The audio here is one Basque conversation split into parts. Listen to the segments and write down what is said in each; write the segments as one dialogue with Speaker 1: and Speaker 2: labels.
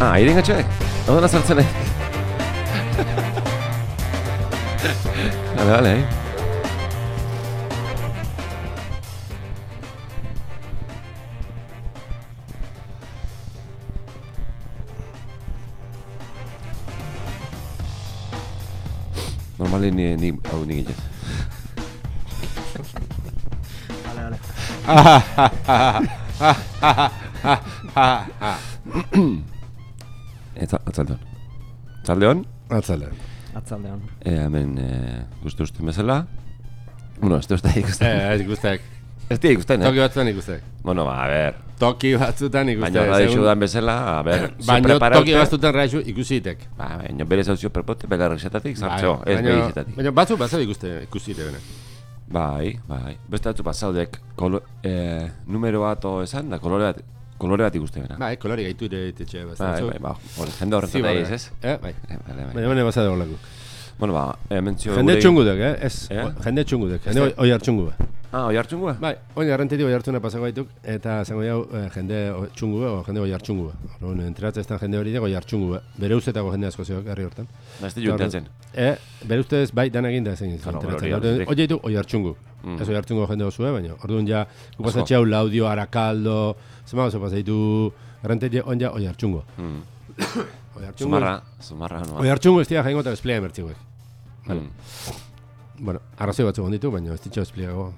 Speaker 1: Ah, irengatxe? Hau dena sartzen eh? Bale, bale, eh? Normali ni, ni, hau ni gillet.
Speaker 2: Vale, vale.
Speaker 1: Eta, atzaldeon. Atzaldeon,
Speaker 3: Atzale.
Speaker 2: Atzaldeon.
Speaker 1: e, hemen e, guzti usten bezala. Bueno, ez duzta ikusten.
Speaker 3: Eh, ez guztek.
Speaker 1: Ez dira ikusten, eh?
Speaker 3: Toki batzutan ikustek.
Speaker 1: Bueno, ba, a ber.
Speaker 3: Toki batzutan ikustek.
Speaker 1: Baina, da
Speaker 3: segun-
Speaker 1: dixu dan bezala, a ber. zu
Speaker 3: Baina
Speaker 1: prepararte-
Speaker 3: toki batzutan raizu ikusitek.
Speaker 1: Ba, baina bere zauzio perpote, belarrexetatik, zartzeo, ez
Speaker 3: Bai, Baina-
Speaker 1: begizetatik.
Speaker 3: Baina batzu batzu ikuste, ikusite bene.
Speaker 1: Bai, bai. Beste batzu bazaudek kolo, eh, numero bat o esan da kolore bat, kolore bat ikuste bena.
Speaker 3: Ba, eh, kolori gaitu ere etxe bat.
Speaker 1: Bai, bai, ba, hori, jende horretan da ez, ez?
Speaker 3: Eh, bai.
Speaker 1: Eh, Bale, bai.
Speaker 3: Baina baina bazade horlako.
Speaker 1: Bueno, ba, hemen zio...
Speaker 3: Jende txungudek, eh? Ez,
Speaker 1: Eh?
Speaker 3: jende txungudek. Jende oi hartxungu.
Speaker 1: Ah, oi hartzungua?
Speaker 3: Bai, oin arrenteti oi hartzuna pasako baituk, eta zango jau jende o- txungua o jende oi hartxungua. Horren, enteratzeztan jende hori dago oi hartxungua. Bere uzetako jende asko zeok, herri hortan.
Speaker 1: Ba, ez di juntatzen.
Speaker 3: E, bere ustez bai dan eginda ezin izan.
Speaker 1: Claro, Mm.
Speaker 3: Claro,
Speaker 1: hori aldetik.
Speaker 3: Oie ditu, oi hartxungu. Ez oi hartxungo jende dozue, baina. Orduan ja, gupasatxe hau laudio, arakaldo, zema oso pasaitu, errentetie on ja oi hartxungo. Oi hartxungo.
Speaker 1: Mm. Zumarra, zumarra, no.
Speaker 3: Oi hartxungo ez dira jaingo eta desplea emertxiguek.
Speaker 1: Mm.
Speaker 3: Bueno, arrazoi batzu gonditu, baina ez ditxo despleago.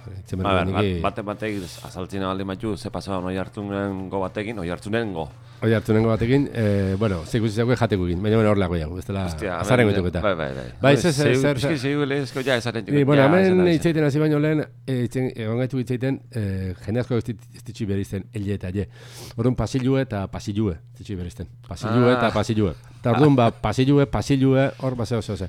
Speaker 1: Ba, ber, bat, bate batek azaltzen baldin batzu, ze pasaba oi hartzungen go batekin, oi hartzunen go.
Speaker 3: Oi hartxunengo batekin, eh, bueno, ze ikusi zeuek jateko egin, baina bueno, hor lago jau, ez dela
Speaker 1: Hostia,
Speaker 3: azaren
Speaker 1: hemen-
Speaker 3: goituk eta.
Speaker 1: Bai, bai, bai.
Speaker 3: Bai,
Speaker 1: Hombre,
Speaker 3: ze- ze-
Speaker 1: zeu-
Speaker 3: zer-
Speaker 1: eski zeu lehezko ja esaten
Speaker 3: Ni, Bai, bueno,
Speaker 1: ja, esaten
Speaker 3: hemen
Speaker 1: ari zen.
Speaker 3: itzaiten hasi baino lehen, eh, itzen, egon gaitu itzaiten, eh, jende asko ez dit- ez ditxi behar izten, hile eta hile. Orduan pasilue eta pasilue, ditxi behar izten. Pasilue
Speaker 1: Ah.
Speaker 3: eta pasilue. Eta orduan, ba, pasilue, pasilue, hor baseo zeo ze.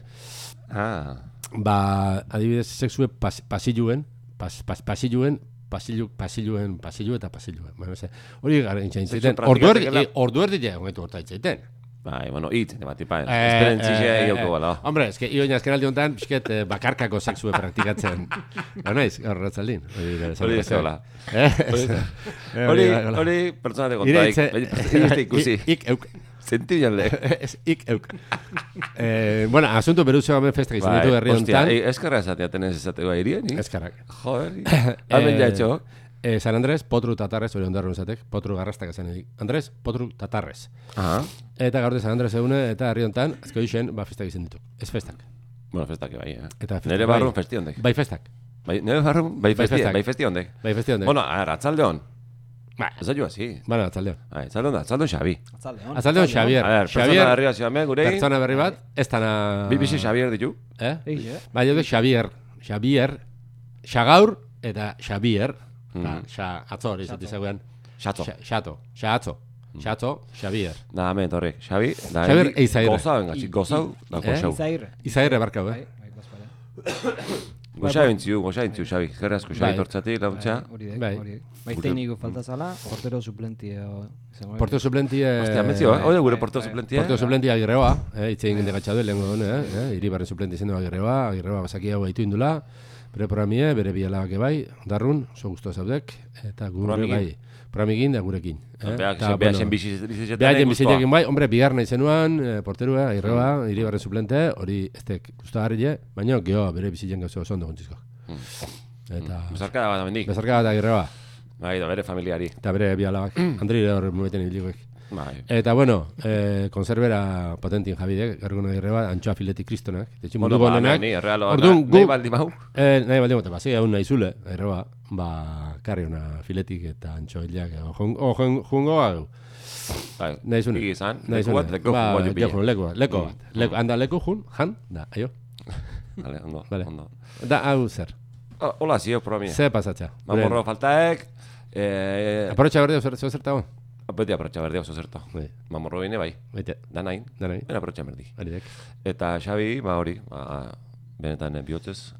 Speaker 1: Ah,
Speaker 3: Ba, adibidez, sexue pas, pasiluen, pas, pas, pasiluen, pasilu, pasiluen, pasilu eta pasiluen. Bueno, ze, hori gara itzaiten.
Speaker 1: Sexu
Speaker 3: itzaiten.
Speaker 1: praktika
Speaker 3: Ordu erdi,
Speaker 1: tekela.
Speaker 3: eh, ordu erdi ja, egon gaitu horta itzaiten.
Speaker 1: bai, bueno, hit, de bat ipa,
Speaker 3: Eh,
Speaker 1: esperientzia
Speaker 3: eh, eh,
Speaker 1: iauko
Speaker 3: eh.
Speaker 1: bala.
Speaker 3: Hombre, eske ioin azkenaldi honetan, pixket eh, bakarkako sexue praktikatzen. ba naiz, gaur ratzaldin.
Speaker 1: Hori
Speaker 3: eh,
Speaker 1: ez hola. Hori,
Speaker 3: Hori,
Speaker 1: hori pertsona de
Speaker 3: Ire
Speaker 1: kontaik, ikusi, ikusi,
Speaker 3: Ik, ik euk.
Speaker 1: senti joan leh.
Speaker 3: Ez, ik euk. eh, bueno, asunto beruzio gamen festak izan ditu herri
Speaker 1: ostia,
Speaker 3: honetan.
Speaker 1: Bai, ei, eskerra esatea tenez esateko airien, ni?
Speaker 3: Ezkarak.
Speaker 1: ¿eh? Joder, Ah, hemen
Speaker 3: Eh,
Speaker 1: jatxo.
Speaker 3: Eh, San Andres, potru tatarrez, hori ondarro esatek, potru garrastak esan edik. Andres, potru tatarrez.
Speaker 1: Aha.
Speaker 3: Eta gaur de San Andres egune, eta herri honetan, azko isen, ba festak izan ditu. Ez festak.
Speaker 1: Bueno, festak bai, eh.
Speaker 3: Eta festak,
Speaker 1: Nere
Speaker 3: bai.
Speaker 1: barrun festi hondek.
Speaker 3: Bai festak.
Speaker 1: Bai, nere barrun, bai festi,
Speaker 3: festak.
Speaker 1: bai festi hondek.
Speaker 3: Bai festak.
Speaker 1: Bueno, a ver, atzalde hon.
Speaker 3: Ba.
Speaker 1: Ez da jo así.
Speaker 3: Bueno, atzaldeon.
Speaker 1: Ah, atzalde hon da, atzalde hon Xabi.
Speaker 2: Atzaldeon.
Speaker 3: Atzaldeon, Xavier.
Speaker 1: A ver,
Speaker 3: Xavier,
Speaker 1: persona arriba zioame, gurei.
Speaker 3: pertsona berri bat, ez dana...
Speaker 1: Bi bizi Xavier ditu.
Speaker 3: Eh?
Speaker 2: Ege.
Speaker 3: Bai, jode Xavier. Xavier. Xagaur eta Xavier. Mm.
Speaker 1: Mm-hmm.
Speaker 3: Ba, xa, atzo hori zati zegoen.
Speaker 1: Xato.
Speaker 3: Xa- Xato. Xatzo.
Speaker 1: Mm.
Speaker 3: Xatzo, Xavier.
Speaker 1: Da, hemen torrek. Xabi, da,
Speaker 3: Xabier
Speaker 1: hemen
Speaker 3: Eizaire.
Speaker 1: Gozau, engatzi, gozau, da,
Speaker 3: Eh?
Speaker 1: gozau.
Speaker 2: Izairre.
Speaker 3: Izaire barkau,
Speaker 2: Bai,
Speaker 3: eh?
Speaker 2: bai, gozpare.
Speaker 1: Goxa entziu, goxa entziu, Xabi. Gerra asko, Xabi,
Speaker 3: Bai.
Speaker 1: tortzatik, laguntza.
Speaker 2: Bai, Hori dek,
Speaker 3: Bai.
Speaker 2: hori dek. Bai, tekniko falta zala, portero suplentio izango dek.
Speaker 3: Porto suplenti... Eh,
Speaker 1: Ostia, metzio, eh? Oida gure
Speaker 2: Bai,
Speaker 1: porteo
Speaker 2: bai.
Speaker 1: suplentia.
Speaker 3: Porto suplenti agirreoa, eh, itzein gende gatxadu, lehenko dune, eh, eh, iribarren suplenti zen agirreoa, agirreoa basaki hau gaitu indula, bere programie, bere bialabak bai, darrun, so guztua zaudek, eta gure
Speaker 1: Programekin?
Speaker 3: bai, programekin da gurekin. Eh? Eta,
Speaker 1: Beha,
Speaker 3: bueno,
Speaker 1: zen bizitzetan.
Speaker 3: Behaien bizitekin bai, hombre, bigar nahi zenuan, eh, porterua,
Speaker 1: Mm.
Speaker 3: irreba, iribarren suplente, hori ez tek gustagarrie, baina geho bere bizitekin gauza oso ondo gontzizko.
Speaker 1: Mm.
Speaker 3: Eta,
Speaker 1: Bezarka da bat amendik.
Speaker 3: bezarka eta irreba,
Speaker 1: Bai, da bere familiari.
Speaker 3: eta bere bialabak,
Speaker 1: Mm.
Speaker 3: Andri ere hor mumeten ibilikoek.
Speaker 1: Bai.
Speaker 3: Eta, bueno, eh, konservera potentin jabidek, garguna irreba, antxoa filetik kristonak, etxe
Speaker 1: Bueno,
Speaker 3: mundu
Speaker 1: ba,
Speaker 3: bonenak.
Speaker 1: nahi, errealoa,
Speaker 3: Orduan,
Speaker 1: nahi
Speaker 3: gu,
Speaker 1: baldin bau.
Speaker 3: Eh, nahi baldin bau, basi hau nahi zule, erreba, ba, karri ona filetik eta antxoilak, jungo, jungo, hau.
Speaker 1: Bai.
Speaker 3: Nahi zune.
Speaker 1: Igi izan.
Speaker 3: Nahi
Speaker 1: Leku
Speaker 3: zune.
Speaker 1: bat, leku Mm.
Speaker 3: Ba,
Speaker 1: bat, leku
Speaker 3: leku,
Speaker 1: bat.
Speaker 3: leku bat, leku bat. Leku, handa leku jun, jan, da, aio.
Speaker 1: Vale, ondo,
Speaker 3: Vale.
Speaker 1: ondo.
Speaker 3: Da, hau zer.
Speaker 1: Ah, Hola, zio, promia.
Speaker 3: Ze pasatza.
Speaker 1: Mamorro faltaek. Eh,
Speaker 3: Aprotxa berde, zer, zer tago?
Speaker 1: beti aprotxa berdea oso zerto.
Speaker 3: Bai,
Speaker 1: Mamorro bine, bai.
Speaker 3: baite,
Speaker 1: Danain.
Speaker 3: da nahi,
Speaker 1: Ben aprotxa berdi.
Speaker 3: haridek.
Speaker 1: Eta Xabi, ba hori, ba, benetan eh, bihotzez,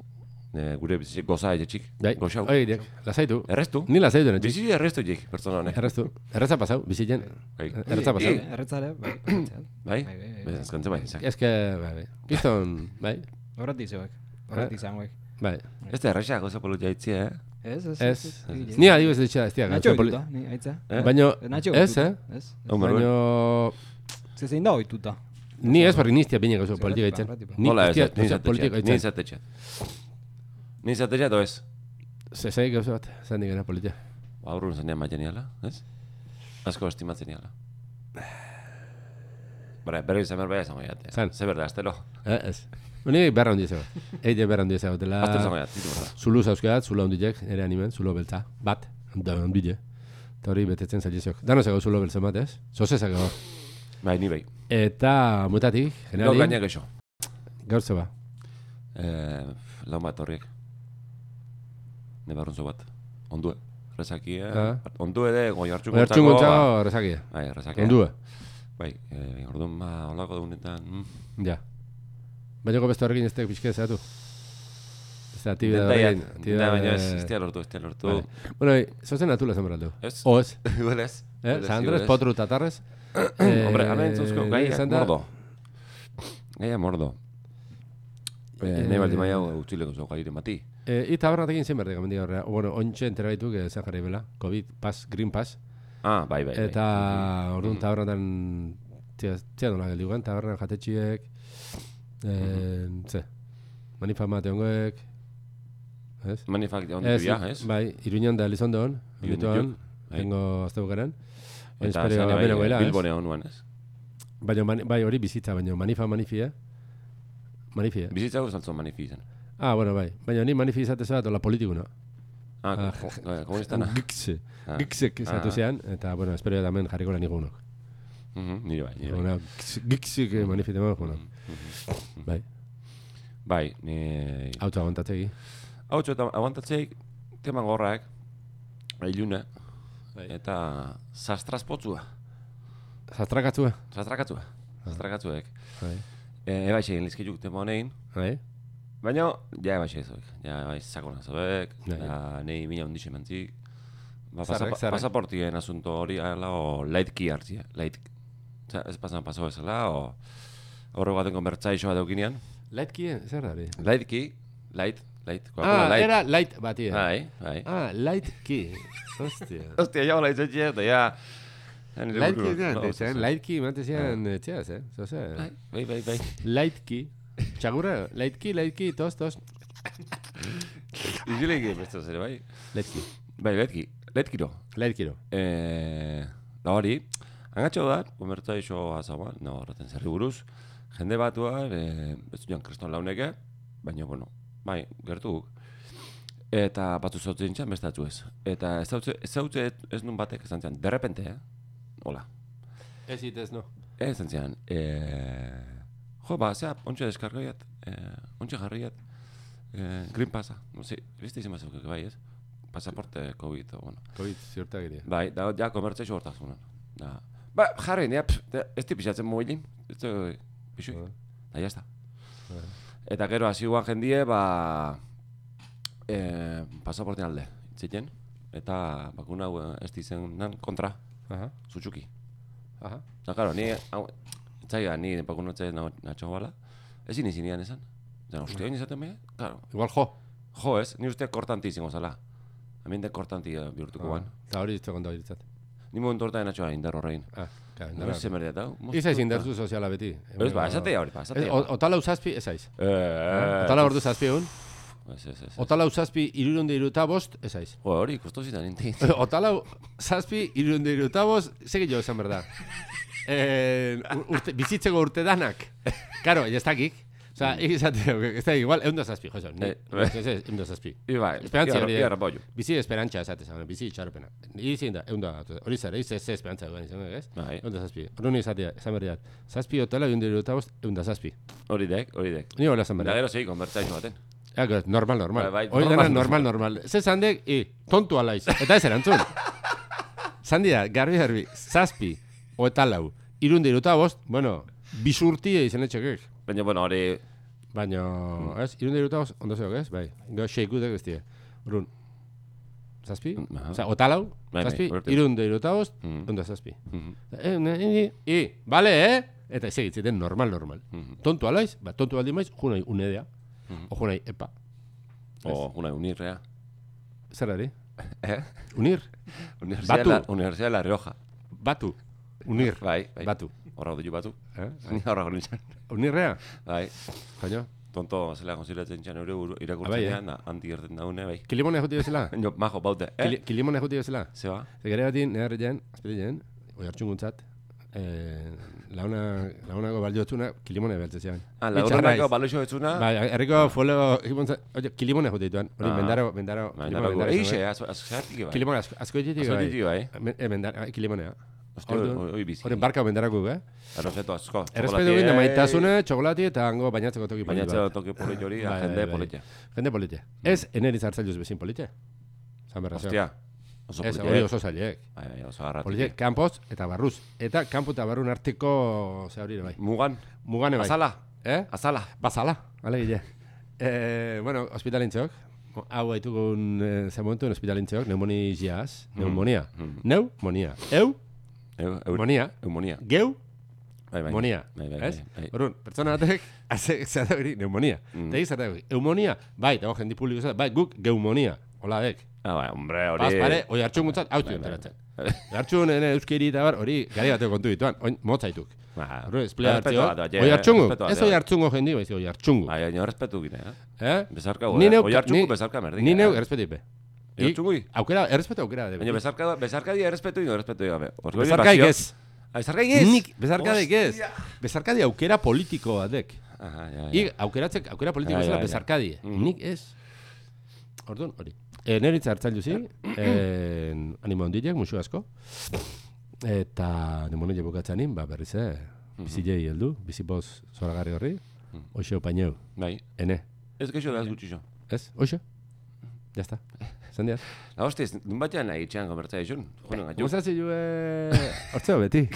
Speaker 1: eh, gure bizitzek goza aietxik,
Speaker 3: Bai,
Speaker 1: goxau. Er-
Speaker 3: oidek, lasaitu.
Speaker 1: Erreztu?
Speaker 3: Ni lasaitu, netxik.
Speaker 1: Bizi erreztu jik, pertsona honek.
Speaker 3: Erraztu. Erraza pasau, bizitzen.
Speaker 1: Bai.
Speaker 3: Erraza pasau.
Speaker 1: Bai.
Speaker 2: Erretzare, bai, potentzial.
Speaker 1: Bai?
Speaker 2: Bai, bai, bai.
Speaker 1: Bez, azkantze bai, izak.
Speaker 3: Ez que, bai, bai. Kiston, bai,
Speaker 2: Horretik zeuek.
Speaker 3: Eh?
Speaker 2: Horretik zangoek.
Speaker 3: bai.
Speaker 1: Ez da erresa goza polo jaitzie, eh?
Speaker 2: Ez, ez,
Speaker 3: Ez.
Speaker 2: Ege.
Speaker 3: Ni adibes ditxea, ez diak.
Speaker 2: Nacho egituta, ni aitza.
Speaker 1: Eh?
Speaker 3: Baina,
Speaker 2: Nacho
Speaker 3: ez,
Speaker 2: egituta,
Speaker 3: eh?
Speaker 2: Ez.
Speaker 1: Hau, Manuel.
Speaker 3: Baina,
Speaker 2: Ze zein da ohituta.
Speaker 3: Ni ez barri niztia bine gauzo
Speaker 2: Zergatik
Speaker 3: politika
Speaker 2: ba,
Speaker 3: itzen.
Speaker 2: zergatik ba.
Speaker 3: Ni
Speaker 1: Nola ez,
Speaker 3: niztia-
Speaker 1: ni
Speaker 3: gauza politika
Speaker 1: zatetxeat, ni
Speaker 3: itzen.
Speaker 1: zatetxeat. Ni zatetxeat, o ez?
Speaker 3: Zezai gauza bat, zan digena politika.
Speaker 1: Ba, aurrun zanean maiten iala, ez? Asko estimatzen iala. Bara, berri izan bai berbea izango jate.
Speaker 3: Zan.
Speaker 1: Ze berde, astero.
Speaker 3: Eh, ez. Ni berra hundi ezagok. Eide berra hundi ezagotela.
Speaker 1: Astero izango jate, ditu bera.
Speaker 3: Zulu zauzkeat, zulo handiek, ere animen, zulo beltza. Bat, da handile. Eta hori betetzen zailiziok. Dano zago zulo beltzen bat, ez? Zoze zago.
Speaker 1: Bai, ni bai.
Speaker 3: Eta mutatik, ba.
Speaker 1: Gaur
Speaker 3: generalin,
Speaker 1: gainak eixo.
Speaker 3: gaur zeba.
Speaker 1: Eh, lau bat horriek. Ne barrunzo bat. Ondue. Rezakia.
Speaker 3: Ah.
Speaker 1: Ondue de goi hartxun
Speaker 3: Oertxun gontzago, rezakia.
Speaker 1: Bai, rezakia.
Speaker 3: Ondua.
Speaker 1: Bai, eh, orduan ba, holako daunetan. Mm.
Speaker 3: Ja. Baina beste horrekin ez tek pixka ezatu. Ez da, tibida
Speaker 1: Dentaiak,
Speaker 3: horrekin.
Speaker 1: dentaia, baina ez,
Speaker 3: eh,
Speaker 1: ez tia lortu, ez tia lortu.
Speaker 3: vale. Bueno, eh, zozen natula zen beraldu.
Speaker 1: Ez?
Speaker 3: O ez,
Speaker 1: Igual ez.
Speaker 3: eh?
Speaker 1: Igual ez, igual
Speaker 3: San Andres,
Speaker 1: ez.
Speaker 3: potru, tatarrez. Eh,
Speaker 1: Hombre, hemen zuzko, gaiak
Speaker 3: izan da-
Speaker 1: mordo. Gaiak mordo. Eh,
Speaker 3: Eh,
Speaker 1: nahi baldin baiago utzileko zau gairen bati.
Speaker 3: Eh, I tabernatekin zen berdek, mendik aurrera. O, Bueno, ontxe entera baituk eh, zen jarri bela. Covid, pass, green pass.
Speaker 1: Ah, bai, bai, bai.
Speaker 3: Eta orduan tabernatan tia tia dona geldi gugan, tabernan jatetxiek, eh,
Speaker 1: Mhm.
Speaker 3: ze, manifa mateongoek, ez?
Speaker 1: Manifak de onditu ja, ez?
Speaker 3: Bai, iruñan da Elizondon,
Speaker 1: Irun
Speaker 3: bituan,
Speaker 1: bai.
Speaker 3: tengo azte bukaran.
Speaker 1: Eta
Speaker 3: Espero
Speaker 1: zane
Speaker 3: bera
Speaker 1: bai,
Speaker 3: goela, ez?
Speaker 1: Bilbonea honuan, ez?
Speaker 3: Baina, mani- bai, hori bizitza, baina manifa eh? manifia. Manifia.
Speaker 1: Bizitzako zaltzon manifi izan.
Speaker 3: eh? Ah, bueno, bai. Baina ni manifia izatezea tola politikuna.
Speaker 1: Ah,
Speaker 3: Ah,
Speaker 1: ko- ko- eh, komunistana.
Speaker 3: Gikse.
Speaker 1: Ah.
Speaker 3: Giksek izatu
Speaker 1: Ah.
Speaker 3: zean, eta, bueno, espero damen jarriko lan igunok.
Speaker 1: Mhm, Nire bai, nire bai. Mhm,
Speaker 3: Una giksik eh, manifia eman joan. Bai,
Speaker 1: Bai, ni...
Speaker 3: auto agontatzegi.
Speaker 1: Hau txotan, aguantatzeik, tema gorrak, iluna,
Speaker 3: Bai.
Speaker 1: eta zastrazpotzua,
Speaker 3: Zastrakatzua.
Speaker 1: zastrakatzua,
Speaker 3: Ah.
Speaker 1: zastrakatzuek.
Speaker 3: Bai.
Speaker 1: E, ebaxe egin lizkituk tema honein,
Speaker 3: Bai.
Speaker 1: Baina, ja ebaxe ezuek, ja bai sakona zauek,
Speaker 3: Ja,
Speaker 1: ja, nahi mina ondixo emantzik. Ba,
Speaker 3: Zarrak,
Speaker 1: pasapa,
Speaker 3: zarrak.
Speaker 1: pasaportien asunto hori ala o laitki hartzia, lait. Osa, ez pasan paso bezala, o horre baten konbertsaixo bat eukinean.
Speaker 3: Lightki, eh? zer da hori?
Speaker 1: Laitki, lait, lait,
Speaker 3: Ah,
Speaker 1: lait.
Speaker 3: era light bati. eh.
Speaker 1: Bai, bai.
Speaker 3: Ah, lightki. Hostia.
Speaker 1: Hostia, ja hola izetxe, eta ja... ja nire
Speaker 3: Lightki,
Speaker 1: buruan, no,
Speaker 3: no,
Speaker 1: oso, oso.
Speaker 3: lightki, imate zian, eh, txeaz, eh? Zoze,
Speaker 1: Bai, bai, bai, bai.
Speaker 3: lightki. Txagurra, lightki, lightki, tos, tos.
Speaker 1: Izile egin beste zer, bai.
Speaker 3: Lightki.
Speaker 1: Bai, laitki, laitkiro.
Speaker 3: Lightki,
Speaker 1: Eh, da hori, angatxo da, komertza iso azaua, no, horretan zerri buruz, jende batua, eh, ez joan kriston launeke, baina, bueno, bai, gertu guk. Eta batzu zautze dintzen, beste batzu ez. Eta ez zautze, ez, zautze, ez nun batek esan zian, derrepente, eh? Hola.
Speaker 3: Ez itez, no.
Speaker 1: Ez esan zian, eh, jo, ba, zea, ontsa deskargoiat, eh, ontsa jarriat, eh, green pasa. No, si, beste izan bazaukek, bai, ez? Pasaporte, COVID, o, bueno.
Speaker 3: Covid, ziurtagiria.
Speaker 1: Bai, da, ja, komertzei sortasunan. Da. Ba, jarri, nea, pf, da, ez di pixatzen mobilin. Ez da, pixui.
Speaker 3: Bai.
Speaker 1: Da, jazta. Eta gero, hasi guan jendie, ba... Eh, pasaporten alde, zitzen. Eta bakuna hau eh, ez dizenan kontra,
Speaker 3: Aha,
Speaker 1: zutxuki.
Speaker 3: aha.
Speaker 1: Da, karo, ni, hau, txaiga, ni ba, bakuna txaiga na, natxo bala. Ezin izin ian esan. Zan, uste
Speaker 3: Bai.
Speaker 1: hori izaten mea? Karo,
Speaker 3: Igual jo.
Speaker 1: jo ez, ni uste kortanti izango zala. Aminte kortanti eh, bihurtuko ban.
Speaker 3: Eta hori izte konta horitzat.
Speaker 1: Ni momentu hortan natxoa indar horrein.
Speaker 3: Ah, ka,
Speaker 1: Nara,
Speaker 3: nara.
Speaker 1: ze merdet hau?
Speaker 3: Iza izin derzu soziala beti.
Speaker 1: Ez ba, esatea hori, ba,
Speaker 3: Ez,
Speaker 1: esatea.
Speaker 3: Eh, o- Otala usazpi, ez aiz.
Speaker 1: Eh, eh,
Speaker 3: Otala ordu zazpi egun.
Speaker 1: Ez, ez, ez.
Speaker 3: Otala usazpi, irurunde iruta bost, ez aiz.
Speaker 1: Jo, hori ikustu zidan inti.
Speaker 3: Otalau, zazpi, irunde irutaboz, segi jo esan berda. Eh, ur- urte, bizitzeko urte danak. Karo, ez dakik. Osa, egizateo, ez da igual, egun da zazpi, jozo. Ni-
Speaker 1: Eh,
Speaker 3: Ez, ez, ez, egun da zazpi.
Speaker 1: Iba,
Speaker 3: Esperantza hori da.
Speaker 1: Iarra bollo.
Speaker 3: Bizi esperantza esatez, hau, bizi itxaropena. Izin da, egun da, hori zer, ez ez esperantza duan izan, ez?
Speaker 1: Bai.
Speaker 3: Egun da zazpi. Hori ni esatea, esan berdiat. Zazpi otala, egun da irutaboz, egun da zazpi.
Speaker 1: Hori dek, hori dek.
Speaker 3: Ni hola esan
Speaker 1: Da
Speaker 3: berdiat.
Speaker 1: gero segi konbertsaizu baten.
Speaker 3: Ego, Ah, normal, normal.
Speaker 1: Bai, bai,
Speaker 3: Hori dena
Speaker 1: normal,
Speaker 3: normal, normal. Ze zandek, e, tontu alaiz. Eta ez erantzun. Zandia, garbi, garbi, zazpi, oeta lau, irunde iruta bost, bueno, bisurtie izan etxekek.
Speaker 1: Baina, bueno, hori...
Speaker 3: Baina, ez, irunde iruta bost, ondo zeok, ez? Bai, gero sheikudek bestie. Orrun, zazpi?
Speaker 1: Aha.
Speaker 3: Oza, oeta lau,
Speaker 1: Bai, bai,
Speaker 3: zazpi,
Speaker 1: hortik.
Speaker 3: irunde iruta bost,
Speaker 1: Mhm.
Speaker 3: ondo zazpi.
Speaker 1: Mhm,
Speaker 3: E, e, e, e, bale, eh? Eta segitzen, normal, normal.
Speaker 1: mhm.
Speaker 3: Tontu alaiz, ba, tontu baldin maiz, junai unedea,
Speaker 1: Mm-hmm.
Speaker 3: o junai epa.
Speaker 1: O, una unirrea.
Speaker 3: Zer ari?
Speaker 1: Eh?
Speaker 3: Unir.
Speaker 1: Universidad de
Speaker 3: Batu.
Speaker 1: la- Universidad de la Rioja.
Speaker 3: Batu. Unir.
Speaker 1: Bai, bai.
Speaker 3: Batu.
Speaker 1: horra dut batu.
Speaker 3: Eh?
Speaker 1: Ni horra gure nintzen.
Speaker 3: Unirrea?
Speaker 1: Bai,
Speaker 3: Kaino?
Speaker 1: tonto zela konsideratzen txan eure buru
Speaker 3: Abai, eh?
Speaker 1: irakurtzen da, anti gerten daune, bai.
Speaker 3: Kilimone juti bezala?
Speaker 1: Jo, majo, baute,
Speaker 3: Kili,
Speaker 1: eh?
Speaker 3: kilimone juti bezala?
Speaker 1: Zeba,
Speaker 3: Zegare batin, nire herrian, azpirilen, oi hartxunguntzat, eh, launa, launako baldiotzuna, kilimone behaltze zian.
Speaker 1: ah,
Speaker 3: Bi
Speaker 1: laurrenako
Speaker 3: txarraiz.
Speaker 1: baloixo etzuna,
Speaker 3: Bai, herriko fuelego, ikimontza- oie, kilimone juti dituan. Hori,
Speaker 1: Ah.
Speaker 3: mendaro, mendaro, kilimone,
Speaker 1: Bainarako,
Speaker 3: mendaro
Speaker 1: eixe,
Speaker 3: izan, bai.
Speaker 1: azkatik bai.
Speaker 3: Kilimone, asko- asko ditik,
Speaker 1: Azkoitik,
Speaker 3: bai.
Speaker 1: bai.
Speaker 3: Me- eh, mendar- ah, Kilimonea.
Speaker 1: Oste,
Speaker 3: Orduan,
Speaker 1: oi- oi bizi.
Speaker 3: Horren barka mendarako, eh?
Speaker 1: Errespetu asko.
Speaker 3: Errespetu egin da maitasune, txokolati eta hango bainatzeko toki
Speaker 1: Baina
Speaker 3: polit
Speaker 1: etxe
Speaker 3: bat.
Speaker 1: toki polit hori,
Speaker 3: Bai,
Speaker 1: jende
Speaker 3: bai.
Speaker 1: politia.
Speaker 3: Jende politia. Ez, eneriz hartzailuz bezin politia. Zan berra, zeo.
Speaker 1: Ostia, oso
Speaker 3: Ez, hori
Speaker 1: politia.
Speaker 3: oso zailek.
Speaker 1: Bai, bai, oso garratik.
Speaker 3: Politia, kanpoz eta barruz. Eta kanpo eta barrun arteko, ze hori ere bai.
Speaker 1: Mugan,
Speaker 3: Mugane bai.
Speaker 1: azala,
Speaker 3: Eh?
Speaker 1: azala.
Speaker 3: Bazala, ale gile. Eh, bueno, hospitalintzeok. Hau haitugun, eh, ze momentuen hospitalintzeok, neumoni jiaz,
Speaker 1: Mm-hmm.
Speaker 3: neumonia. Neu, monia. Eu,
Speaker 1: Eu- eu-
Speaker 3: monia.
Speaker 1: Eumonia.
Speaker 3: Geu,
Speaker 1: Bai, bai.
Speaker 3: Monia.
Speaker 1: Bai, bai,
Speaker 3: ez?
Speaker 1: bai, bai.
Speaker 3: Orduan, pertsona batek, haze- zera hori, neumonia. Mm. Tegi zera hori, eumonia, bai, dago jendi publiko zera, bai, guk geumonia, hola dek.
Speaker 1: Ah, bai, hombre, hori. Bai,
Speaker 3: Paz pare, oi hartxun gutzat, hau zion teratzen. Hartxun, ene, euskeri eta bar, hori, gari bateko kontu dituan, oin, motzaituk.
Speaker 1: Ba,
Speaker 3: Orduan, esplea
Speaker 1: errespetu
Speaker 3: hartzeo,
Speaker 1: bat, oie,
Speaker 3: oi hartxungu,
Speaker 1: errespetu bat,
Speaker 3: ez
Speaker 1: oie.
Speaker 3: oi hartxungo jendi, baizik oi hartxungo.
Speaker 1: Bai, baina errespetu gine, eh?
Speaker 3: Eh?
Speaker 1: Bezarka
Speaker 3: Ni
Speaker 1: gure,
Speaker 3: neu-
Speaker 1: oi hartxuko
Speaker 3: ni-
Speaker 1: bezarka berdina.
Speaker 3: Ni neu,
Speaker 1: eh?
Speaker 3: errespetu ipe.
Speaker 1: Oi hartxungui?
Speaker 3: Aukera, errespetu aukera. debe.
Speaker 1: Baina bezarka, bezarka dia errespetu ino errespetu dira.
Speaker 3: Bezarkaik ez.
Speaker 1: Bezarkaik ez?
Speaker 3: Nik, bezarkadik ez. Bezarkadi aukera politiko batek.
Speaker 1: Aha, ja, ja.
Speaker 3: Ik, aukeratzek, aukera politiko
Speaker 1: Bai,
Speaker 3: bezala
Speaker 1: bai, bai.
Speaker 3: bezarkadie. Nik ez. Orduan, hori. E, Neritza hartzen duzi, e, animo handiak, musu asko. Eta demonia bukatzanin, ba, berriz, eh,
Speaker 1: Mhm.
Speaker 3: bizilei heldu, bizipoz zoragarri horri. Oixo, opaineu,
Speaker 1: Bai.
Speaker 3: ene,
Speaker 1: Ez geixo da, ez gutxixo.
Speaker 3: ez? Oixo? Ya está. Zandiaz.
Speaker 1: Da, hostiz, nun batean nahi itxean konbertza izun. Jonen gaitu.
Speaker 3: Gustatzen jue... Hortzeo beti.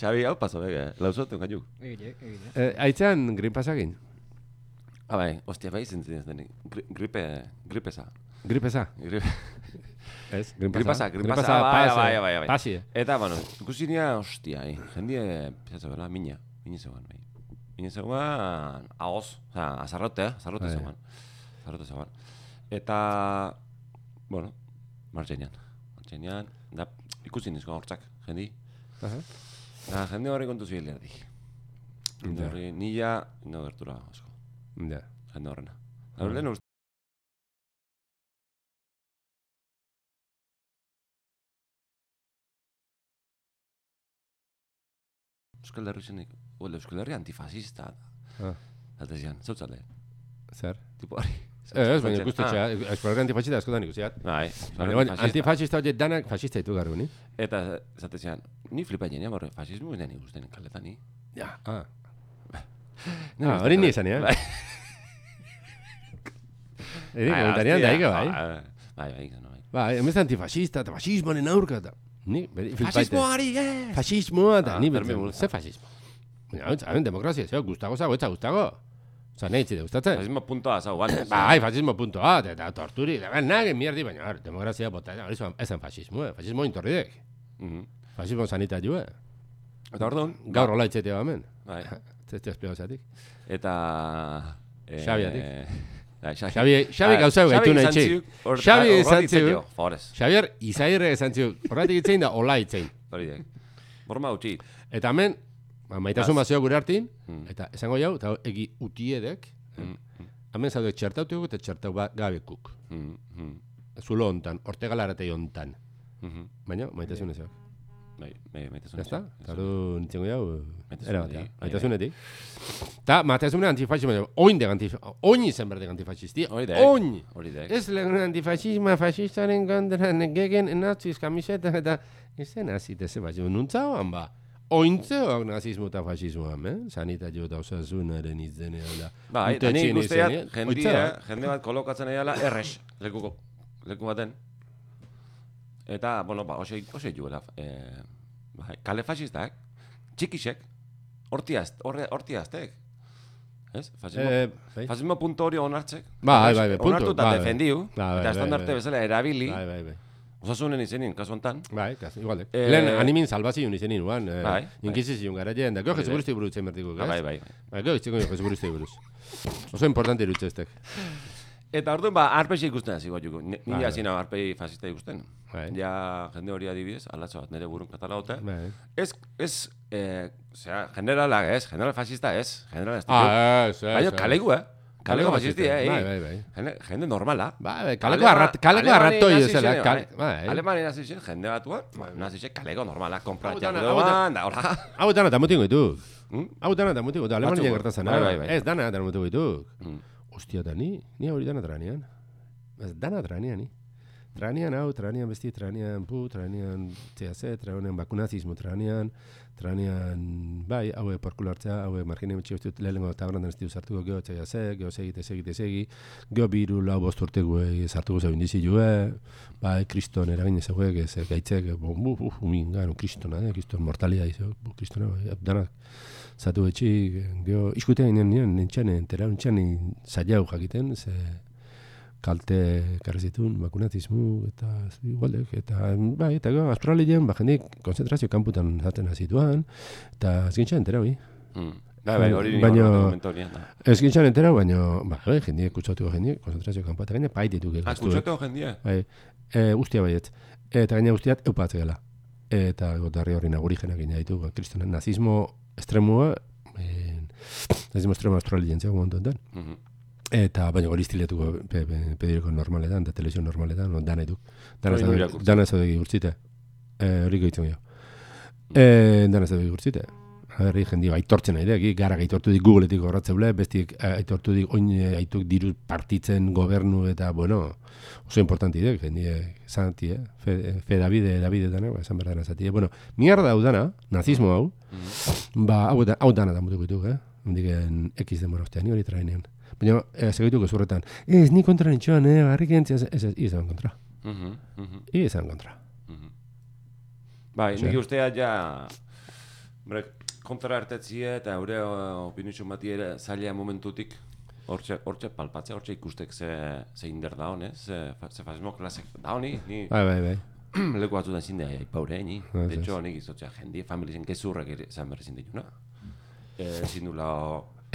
Speaker 1: Xabi, hau paso, bega, lauzotun gaitu.
Speaker 2: Egile, egile.
Speaker 3: Eh, Aitzan, green pasagin.
Speaker 1: Ah, bai, hostia, bai, zentzen ez denik. Gri- Gripe, gripesa.
Speaker 3: Gripesa.
Speaker 1: Gripe.
Speaker 3: Ez, green
Speaker 1: Gripasa,
Speaker 3: pasa.
Speaker 1: gripasa, bai, bai, bai, bai.
Speaker 3: Pasi, eh.
Speaker 1: Eta, bueno, ikusi nia, hostia, eh, jendie, pizatzo bela, mina, mina zegoen, bai. Mina zegoen, ahoz, oza, azarrote, eh? azarrote
Speaker 3: Bai.
Speaker 1: zegoen. Azarrote zegoen. Eta, bueno, martxenean. Martxenean, da, ikusi nizko hortzak, jendi.
Speaker 3: Aha.
Speaker 1: Da, jende horri kontu zibile erdik. Jende
Speaker 3: Ja.
Speaker 1: horri, nila, no gertura asko,
Speaker 3: Ja.
Speaker 1: jende horrena.
Speaker 3: Ah.
Speaker 1: Da, lehen uste, Euskal Herri zenik, Ola, Euskal Herri antifasista.
Speaker 3: Ah.
Speaker 1: Eta zian, zautzale,
Speaker 3: Zer?
Speaker 1: tipo hori.
Speaker 3: Ez, baina
Speaker 1: Zautzen.
Speaker 3: ikustetxea, eskolari antifascista askotan ikusiat.
Speaker 1: Bai,
Speaker 3: Baina,
Speaker 1: baina
Speaker 3: baina, antifascista horiek danak fascista ditu garbi, ni?
Speaker 1: Eta zate zian, ni flipa jenia, borre, fasismo ginen ikusten kaletan, ni.
Speaker 3: Ja. Ah. Ah, hori ni izan, eh?
Speaker 1: Bai.
Speaker 3: Eri,
Speaker 1: Bai,
Speaker 3: komentanean
Speaker 1: hostia,
Speaker 3: da, ike, bai.
Speaker 1: Bai, bai, bai, izan, bai.
Speaker 3: Ba, emez antifascista, eta fascismoaren aurka, eta... Ni, beri, filpaite.
Speaker 1: Fasismoari, eh!
Speaker 3: Fascismoa, eta
Speaker 1: Ah,
Speaker 3: ni
Speaker 1: berme
Speaker 3: bertzen,
Speaker 1: bultza.
Speaker 3: ze fascismo? Baina, hau, hau, demokrazia, zeo, gustago zago, etza gustago. Osa, nahi itzi de gustatzen.
Speaker 1: Fasismo puntoa zau, gane.
Speaker 3: Bai, fascismo punto A, eta torturi, eta nahi, mierdi, baina, hor, demokrazia bota, hori zuen, ezen fascismo, eh? fascismo intorridek.
Speaker 1: Mhm.
Speaker 3: Fascismo sanitario, eh?
Speaker 1: Eta orduan,
Speaker 3: Gaur hola itxetea bamen.
Speaker 1: Bai.
Speaker 3: Ez ez espero zatik.
Speaker 1: Eta... eh,
Speaker 3: Xabiatik.
Speaker 1: Bai, Xabi.
Speaker 3: Xabi- Xabi gauzau gaitu nahi txik. Xabi
Speaker 1: Xabi
Speaker 3: izan
Speaker 1: izan
Speaker 3: ziuk.
Speaker 1: ziuk. Favorez,
Speaker 3: Xavier, izairre esan zion, horretik itzein da, hola itzein.
Speaker 1: hori dek. Borma utxi.
Speaker 3: Eta hemen, ba, maitasun bazio gure hartin,
Speaker 1: Mm.
Speaker 3: eta esango jau, eta egi utiedek, hemen zaude txertautuk eta txertau ba- gabekuk.
Speaker 1: Mhm, mhm,
Speaker 3: Zulo hontan, ortegalaratei hontan.
Speaker 1: mhm.
Speaker 3: Baina, maitasun ezak.
Speaker 1: Bai, bai, maitasun.
Speaker 3: Jazta? Eta hori nintzengo jau,
Speaker 1: Maitasunetik,
Speaker 3: era bat,
Speaker 1: bai, bai.
Speaker 3: maitasunetik. Eta maitasunen antifasismo, oin de antifasismo, oin izan berdek antifasistia,
Speaker 1: Hori dek.
Speaker 3: oin!
Speaker 1: Hori dek.
Speaker 3: Ez lehen antifasisma, fasistaren kontra negegen naziz kamiseta eta izen azite ze bat, nuntza hoan ba. Ointzeoak nazismo eta fasismoan, eh? Sanitario eta osasunaren izenean da.
Speaker 1: Bai,
Speaker 3: Urte
Speaker 1: eta nik
Speaker 3: txin
Speaker 1: guztiak
Speaker 3: izenean,
Speaker 1: jendia,
Speaker 3: ointzeoak.
Speaker 1: jende bat kolokatzen ari dela errex, lekuko, leku baten. Eta, bueno, ba, oso, oso juela, eh, bai, kale fasistak, txikisek, hortiaz, horre, hortiaztek. Ez? Fasismo,
Speaker 3: Eh, bai,
Speaker 1: fasismo puntu hori onartzek.
Speaker 3: Bai, bai, bai, puntu,
Speaker 1: Onartu eta
Speaker 3: bai, bai.
Speaker 1: defendiu,
Speaker 3: Bai, bai,
Speaker 1: eta
Speaker 3: bai,
Speaker 1: estandarte
Speaker 3: bai.
Speaker 1: bezala erabili,
Speaker 3: bai, bai, bai.
Speaker 1: osasunen izenin, kasu honetan.
Speaker 3: Bai, kasi, igualek.
Speaker 1: Eh,
Speaker 3: Lehen animin salbazion izenin, uan,
Speaker 1: bai,
Speaker 3: eh,
Speaker 1: bai.
Speaker 3: inkizizion garaien, da gero Jesu Kristi buruz itzen bertiko,
Speaker 1: Ah, Bai,
Speaker 3: gaz?
Speaker 1: bai, bai.
Speaker 3: Bai, gero itziko Jesu Kristi buruz. Oso importante irutzestek.
Speaker 1: Eta orduan, ba, arpexi ikusten hasi gotuko. Ni
Speaker 3: Bai,
Speaker 1: hasi nago arpei fasista ikusten.
Speaker 3: Bai.
Speaker 1: Ja, jende hori adibidez, alatzo bat, nire burun katala dute.
Speaker 3: Bai.
Speaker 1: Ez, ez, eh, zera, generala ez, general fascista ez, general ez.
Speaker 3: Ah, ez, ez.
Speaker 1: Baina,
Speaker 3: ez.
Speaker 1: kalegu, eh? Kalego fascisti, eh?
Speaker 3: Bai, bai, bai.
Speaker 1: Jende, jende normala.
Speaker 3: Bai, bai, kaleko arrat, kaleko arratoi bezala.
Speaker 1: eh?
Speaker 3: kal- Bai.
Speaker 1: Alemania nazi zen, jende batua, nazi zen kalego normala, kompra
Speaker 3: Hau dana, hau
Speaker 1: jardoan, da hola.
Speaker 3: Hau dana eta mutingo dituk.
Speaker 1: Hmm?
Speaker 3: Hau dana eta mutingo dituk. Alemania
Speaker 1: Batzuk,
Speaker 3: gertatzen.
Speaker 1: bai, bai, bai.
Speaker 3: Ez dana eta mutingo dituk.
Speaker 1: Hmm.
Speaker 3: Ostia, eta ni, ni hori dana tranean. Ez dana tranean, ni. Tranean hau, tranean besti, tranean pu, tranean THC, tranean bakunazismo, tranean, tranean, bai, haue porkulu hartzea, haue margine betxe uste dut lehenengo tabrandan ez ditu sartuko geho THC, geho segite, segite, segi, geho biru lau bost urte gue sartuko zeu indizi jue, bai, kriston eragin ez guek, ez gaitzek, bon, bu, bu, umin, gano, kristona, eh, kriston mortalia izan, bu, kristona, bai, danak, zatu etxik, geho, iskutea ginen nien, nintxane, entera, nintxane, zailau jakiten, ze kalte karrezitun, bakunatizmu, eta igualdek, eta bai, eta gero, australian, ba, jendik, konzentrazio kanputan zaten hazituan, eta ez gintxan entera, bai.
Speaker 1: Hmm. Bai, bai, hori nire
Speaker 3: Baina-
Speaker 1: momentu hori.
Speaker 3: Ez gintxan entera, baina, ba, bai, jendik, kutsatuko jendik, konzentrazio kanputan, gaine, paititu
Speaker 1: Ah, kutsateo jendie.
Speaker 3: Bai, e, ustia baiet. E, Eta gaina guztiat eupatze gela. E, Eta gotarri horri nagurigenak gina ditu, ba, kristonen nazismo estremua, eh, nazismo estremua australientzia momentu enten.
Speaker 1: Mhm.
Speaker 3: Eta baina hori estiletuko pe, pe, pedireko normaletan, da televizio normaletan, no, dana iduk. Dana
Speaker 1: Hori
Speaker 3: zaude-
Speaker 1: irakurtzen.
Speaker 3: dana zaudegi urtzite. E, hori gehitzen gehiago.
Speaker 1: Mm.
Speaker 3: E, dana zaudegi urtzite. Herri jendi aitortzen nahi dek, gara aitortu dik Googleetik horratzeule, bestik eh, aitortu dik, oin eh, aituk diru partitzen gobernu eta, bueno, oso importanti dek, jendi, zanti, eh? fe, eh, fe Davide, Davide dana, esan berdana zati, eh? bueno, mierda hau dana, nazismo hau, Ba, hau, da, hau dana da mutuko dituk, eh? Hundiken ekiz denbora ostean, ni hori trainean. Baina, eh, segituko zurretan, ez, ni kontra nintxoan, eh, barrik entzia, ez, ez, izan kontra.
Speaker 1: Mhm, mhm,
Speaker 3: Izan kontra.
Speaker 1: mhm. Bai,
Speaker 3: Zer.
Speaker 1: nik ustea ja... Bre, kontra artetzie eta eure opinitxun bati ere zaila momentutik hortxe, hortxe palpatzea, hortxe ikustek ze, ze inder da honez, ze, fa- ze fasmo klasek da honi, ni
Speaker 3: Bai, bai, bai.
Speaker 1: Hmm, leku batzutan zindea aipaure, eh, ni.
Speaker 3: Ah, Ez,
Speaker 1: De
Speaker 3: ez.
Speaker 1: hecho, nik izotzea jendi, familizen gezurrek ere zan berri zindetuna. Eh, ezin dula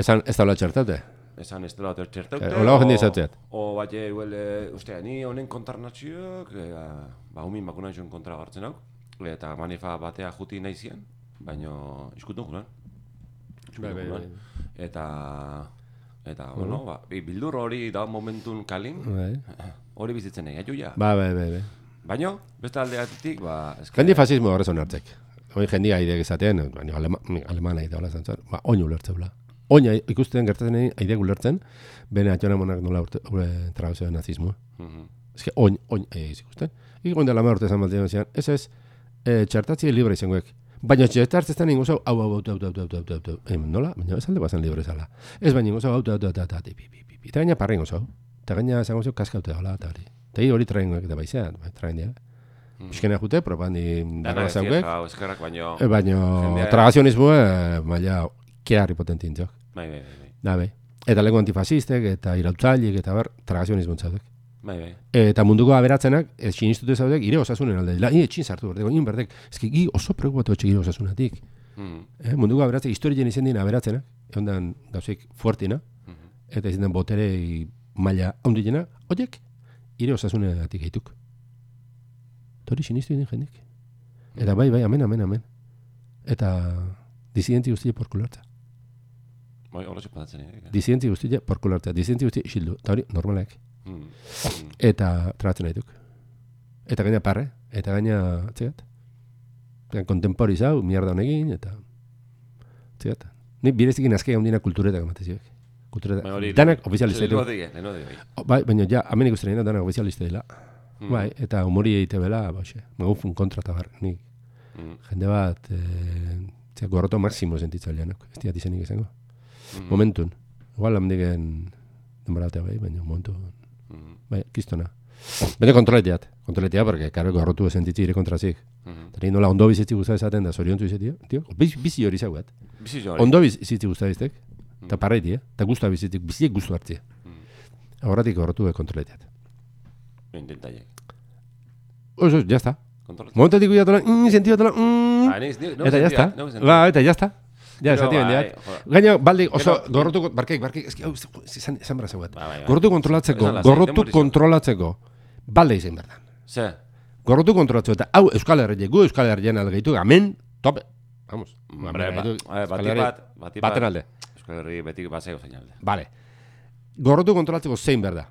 Speaker 3: Esan, ez daula txertate.
Speaker 1: esan ez dela tertxertaute.
Speaker 3: Eh, hola jende izateat.
Speaker 1: O, bai, eh, huel, eh, ustea, ni honen kontarnatxiok, e, ba, humin bakuna izan kontra gartzen hau, eta manifa batea juti nahi zian, baino iskutun julan.
Speaker 3: Bai, bai, bai.
Speaker 1: Eta, eta, bueno, ba, bi- bildur hori da momentun kalin,
Speaker 3: Bai,
Speaker 1: hori bizitzen nahi, aitu ja.
Speaker 3: bai, bai, bai. bai.
Speaker 1: Baino, beste aldeatik, ba, eske,
Speaker 3: Jendi fasismo horrezon hartzek. Oin jendi aidek ezaten, baina alema, aleman aide hola zantzar, ba, oin ulertzeula. Oin ai- ikusten gertatzen egin aidek ulertzen, bene atxona monak nola urte, ure trabezioen nazismoa.
Speaker 1: Mhm.
Speaker 3: Ez que oin, oin, eh, ikusten. Ikon dela ma urte zan baldean zian, ez ez, eh, txertatzi libre izangoek. Baina txertatzi estan ingo zau, hau, hau, hau, hau, hau, hau, hau, hau, hau, Em, nola? Baina ez alde bazen libre zala. Ez baina ingo zau, hau, hau, hau, hau, hau, pi, pi, pi, pi. Eta gaina parra ingo zau. Eta gaina zango zau kaskaute hola, eta hori. Eta hi hori traingoek eta baizean, bai, train dira. Euskena jute, propandi
Speaker 1: dana
Speaker 3: dara
Speaker 1: ez
Speaker 3: zauek,
Speaker 1: hau, eskerrak, baino,
Speaker 3: eh, baina
Speaker 1: Jendea-
Speaker 3: tragazionismoa, maila, kiarri potentintzok.
Speaker 1: bai, bai, bai, bai,
Speaker 3: Da, be. Eta lengo antifasistek, eta irautzailik, eta bar, tragazionismo zaudek.
Speaker 1: bai, bai,
Speaker 3: Eta munduko aberatzenak, ez sinistute zaudek, ire osasunen alde. La, ni etxin sartu berdeko, in berdek. Ez ki, gi oso preokupatu etxe gire osasunatik.
Speaker 1: Mhm,
Speaker 3: Eh, munduko aberatzek, historien izen dien aberatzenak, egon den gauzek fuertina,
Speaker 1: mhm.
Speaker 3: eta izen den botere maila haundilena, horiek, ire osasunen atik gaituk. Tori sinistu egin jendik. Eta bai, bai, amen, amen, amen. Eta disidenti guztia porkulartza.
Speaker 1: Bai, hola txepatatzen, eh?
Speaker 3: Disidenti guztia porkulartza. Disidenti guztia isildu. Eta hori, normalak.
Speaker 1: Mhm, mhm.
Speaker 3: Eta trabatzen nahi duk. Eta gaina parre, eta gaina txegat. Eta kontemporizau, mierda honekin, eta... Txegat. Nik birezikin azkei handina kulturetak amatezioek. Kulturetak.
Speaker 1: Bai, hori-
Speaker 3: Danak ofizialista
Speaker 1: Lehenengo
Speaker 3: ditu.
Speaker 1: dira, lehenengo dira.
Speaker 3: Bai, baina ja, hemen ikusten dira danak ofizialista dela.
Speaker 1: Mm.
Speaker 3: Bai, eta humori egite bela, bauxe. Magufun kontra eta bar. Nik
Speaker 1: Mm,
Speaker 3: jende bat, eh, txea, gorroto maksimo sentitza lehanok. Ez diat izenik izango.
Speaker 1: mm,
Speaker 3: Momentun. Igual amdigen denbora batea bai, baina momentu
Speaker 1: mm,
Speaker 3: Bai, kistona. Bene kontroletiat. Kontroletia, porque, karo, gorrotu sentitzi ire kontrazik.
Speaker 1: mm.
Speaker 3: Tari nola ondo bizitzi guztia esaten da, zoriontu izetia, tio? Biz, bizi hori zauat.
Speaker 1: Bizi joan.
Speaker 3: Ondo bizitzi guztia biztek,
Speaker 1: Mm.
Speaker 3: eta parraiti, eh? Eta guztua bizitik, biziek guztu hartzia.
Speaker 1: Hmm.
Speaker 3: Horretik gorrotu e kontroletiat.
Speaker 1: Intentaiek.
Speaker 3: Oso, ya está.
Speaker 1: Kontrolatzen.
Speaker 3: Momentatik guiatola, mm, sentidotola, mm,
Speaker 1: Ah, neiz, neu- neu
Speaker 3: eta
Speaker 1: sentia,
Speaker 3: ya está.
Speaker 1: neu sentia.
Speaker 3: Ba, eta ya está. Ja,
Speaker 1: Gero,
Speaker 3: esati
Speaker 1: bai,
Speaker 3: bendiat.
Speaker 1: joder.
Speaker 3: Gaina, balde, oso,
Speaker 1: Gero-
Speaker 3: gorrotu, barkek, barkek, eski, hau, izan izan bera zauat.
Speaker 1: Ba, bai, bai.
Speaker 3: Gorrotu kontrolatzeko,
Speaker 1: Esan lasai,
Speaker 3: gorrotu
Speaker 1: denbora izan.
Speaker 3: kontrolatzeko, balde izan berdan.
Speaker 1: Ze,
Speaker 3: gorrotu kontrolatzu eta hau Euskal Herriak gu Euskal Herrian algeitu, amen, tope. Vamos.
Speaker 1: Hombre, ba,
Speaker 3: algeitu,
Speaker 1: eh,
Speaker 3: Euskal
Speaker 1: batik
Speaker 3: Herri-
Speaker 1: bat, batik bat,
Speaker 3: baten alde.
Speaker 1: Euskal Herri betik bazeo zein alde.
Speaker 3: Vale. Gorrotu kontrolatzeko zein behar da?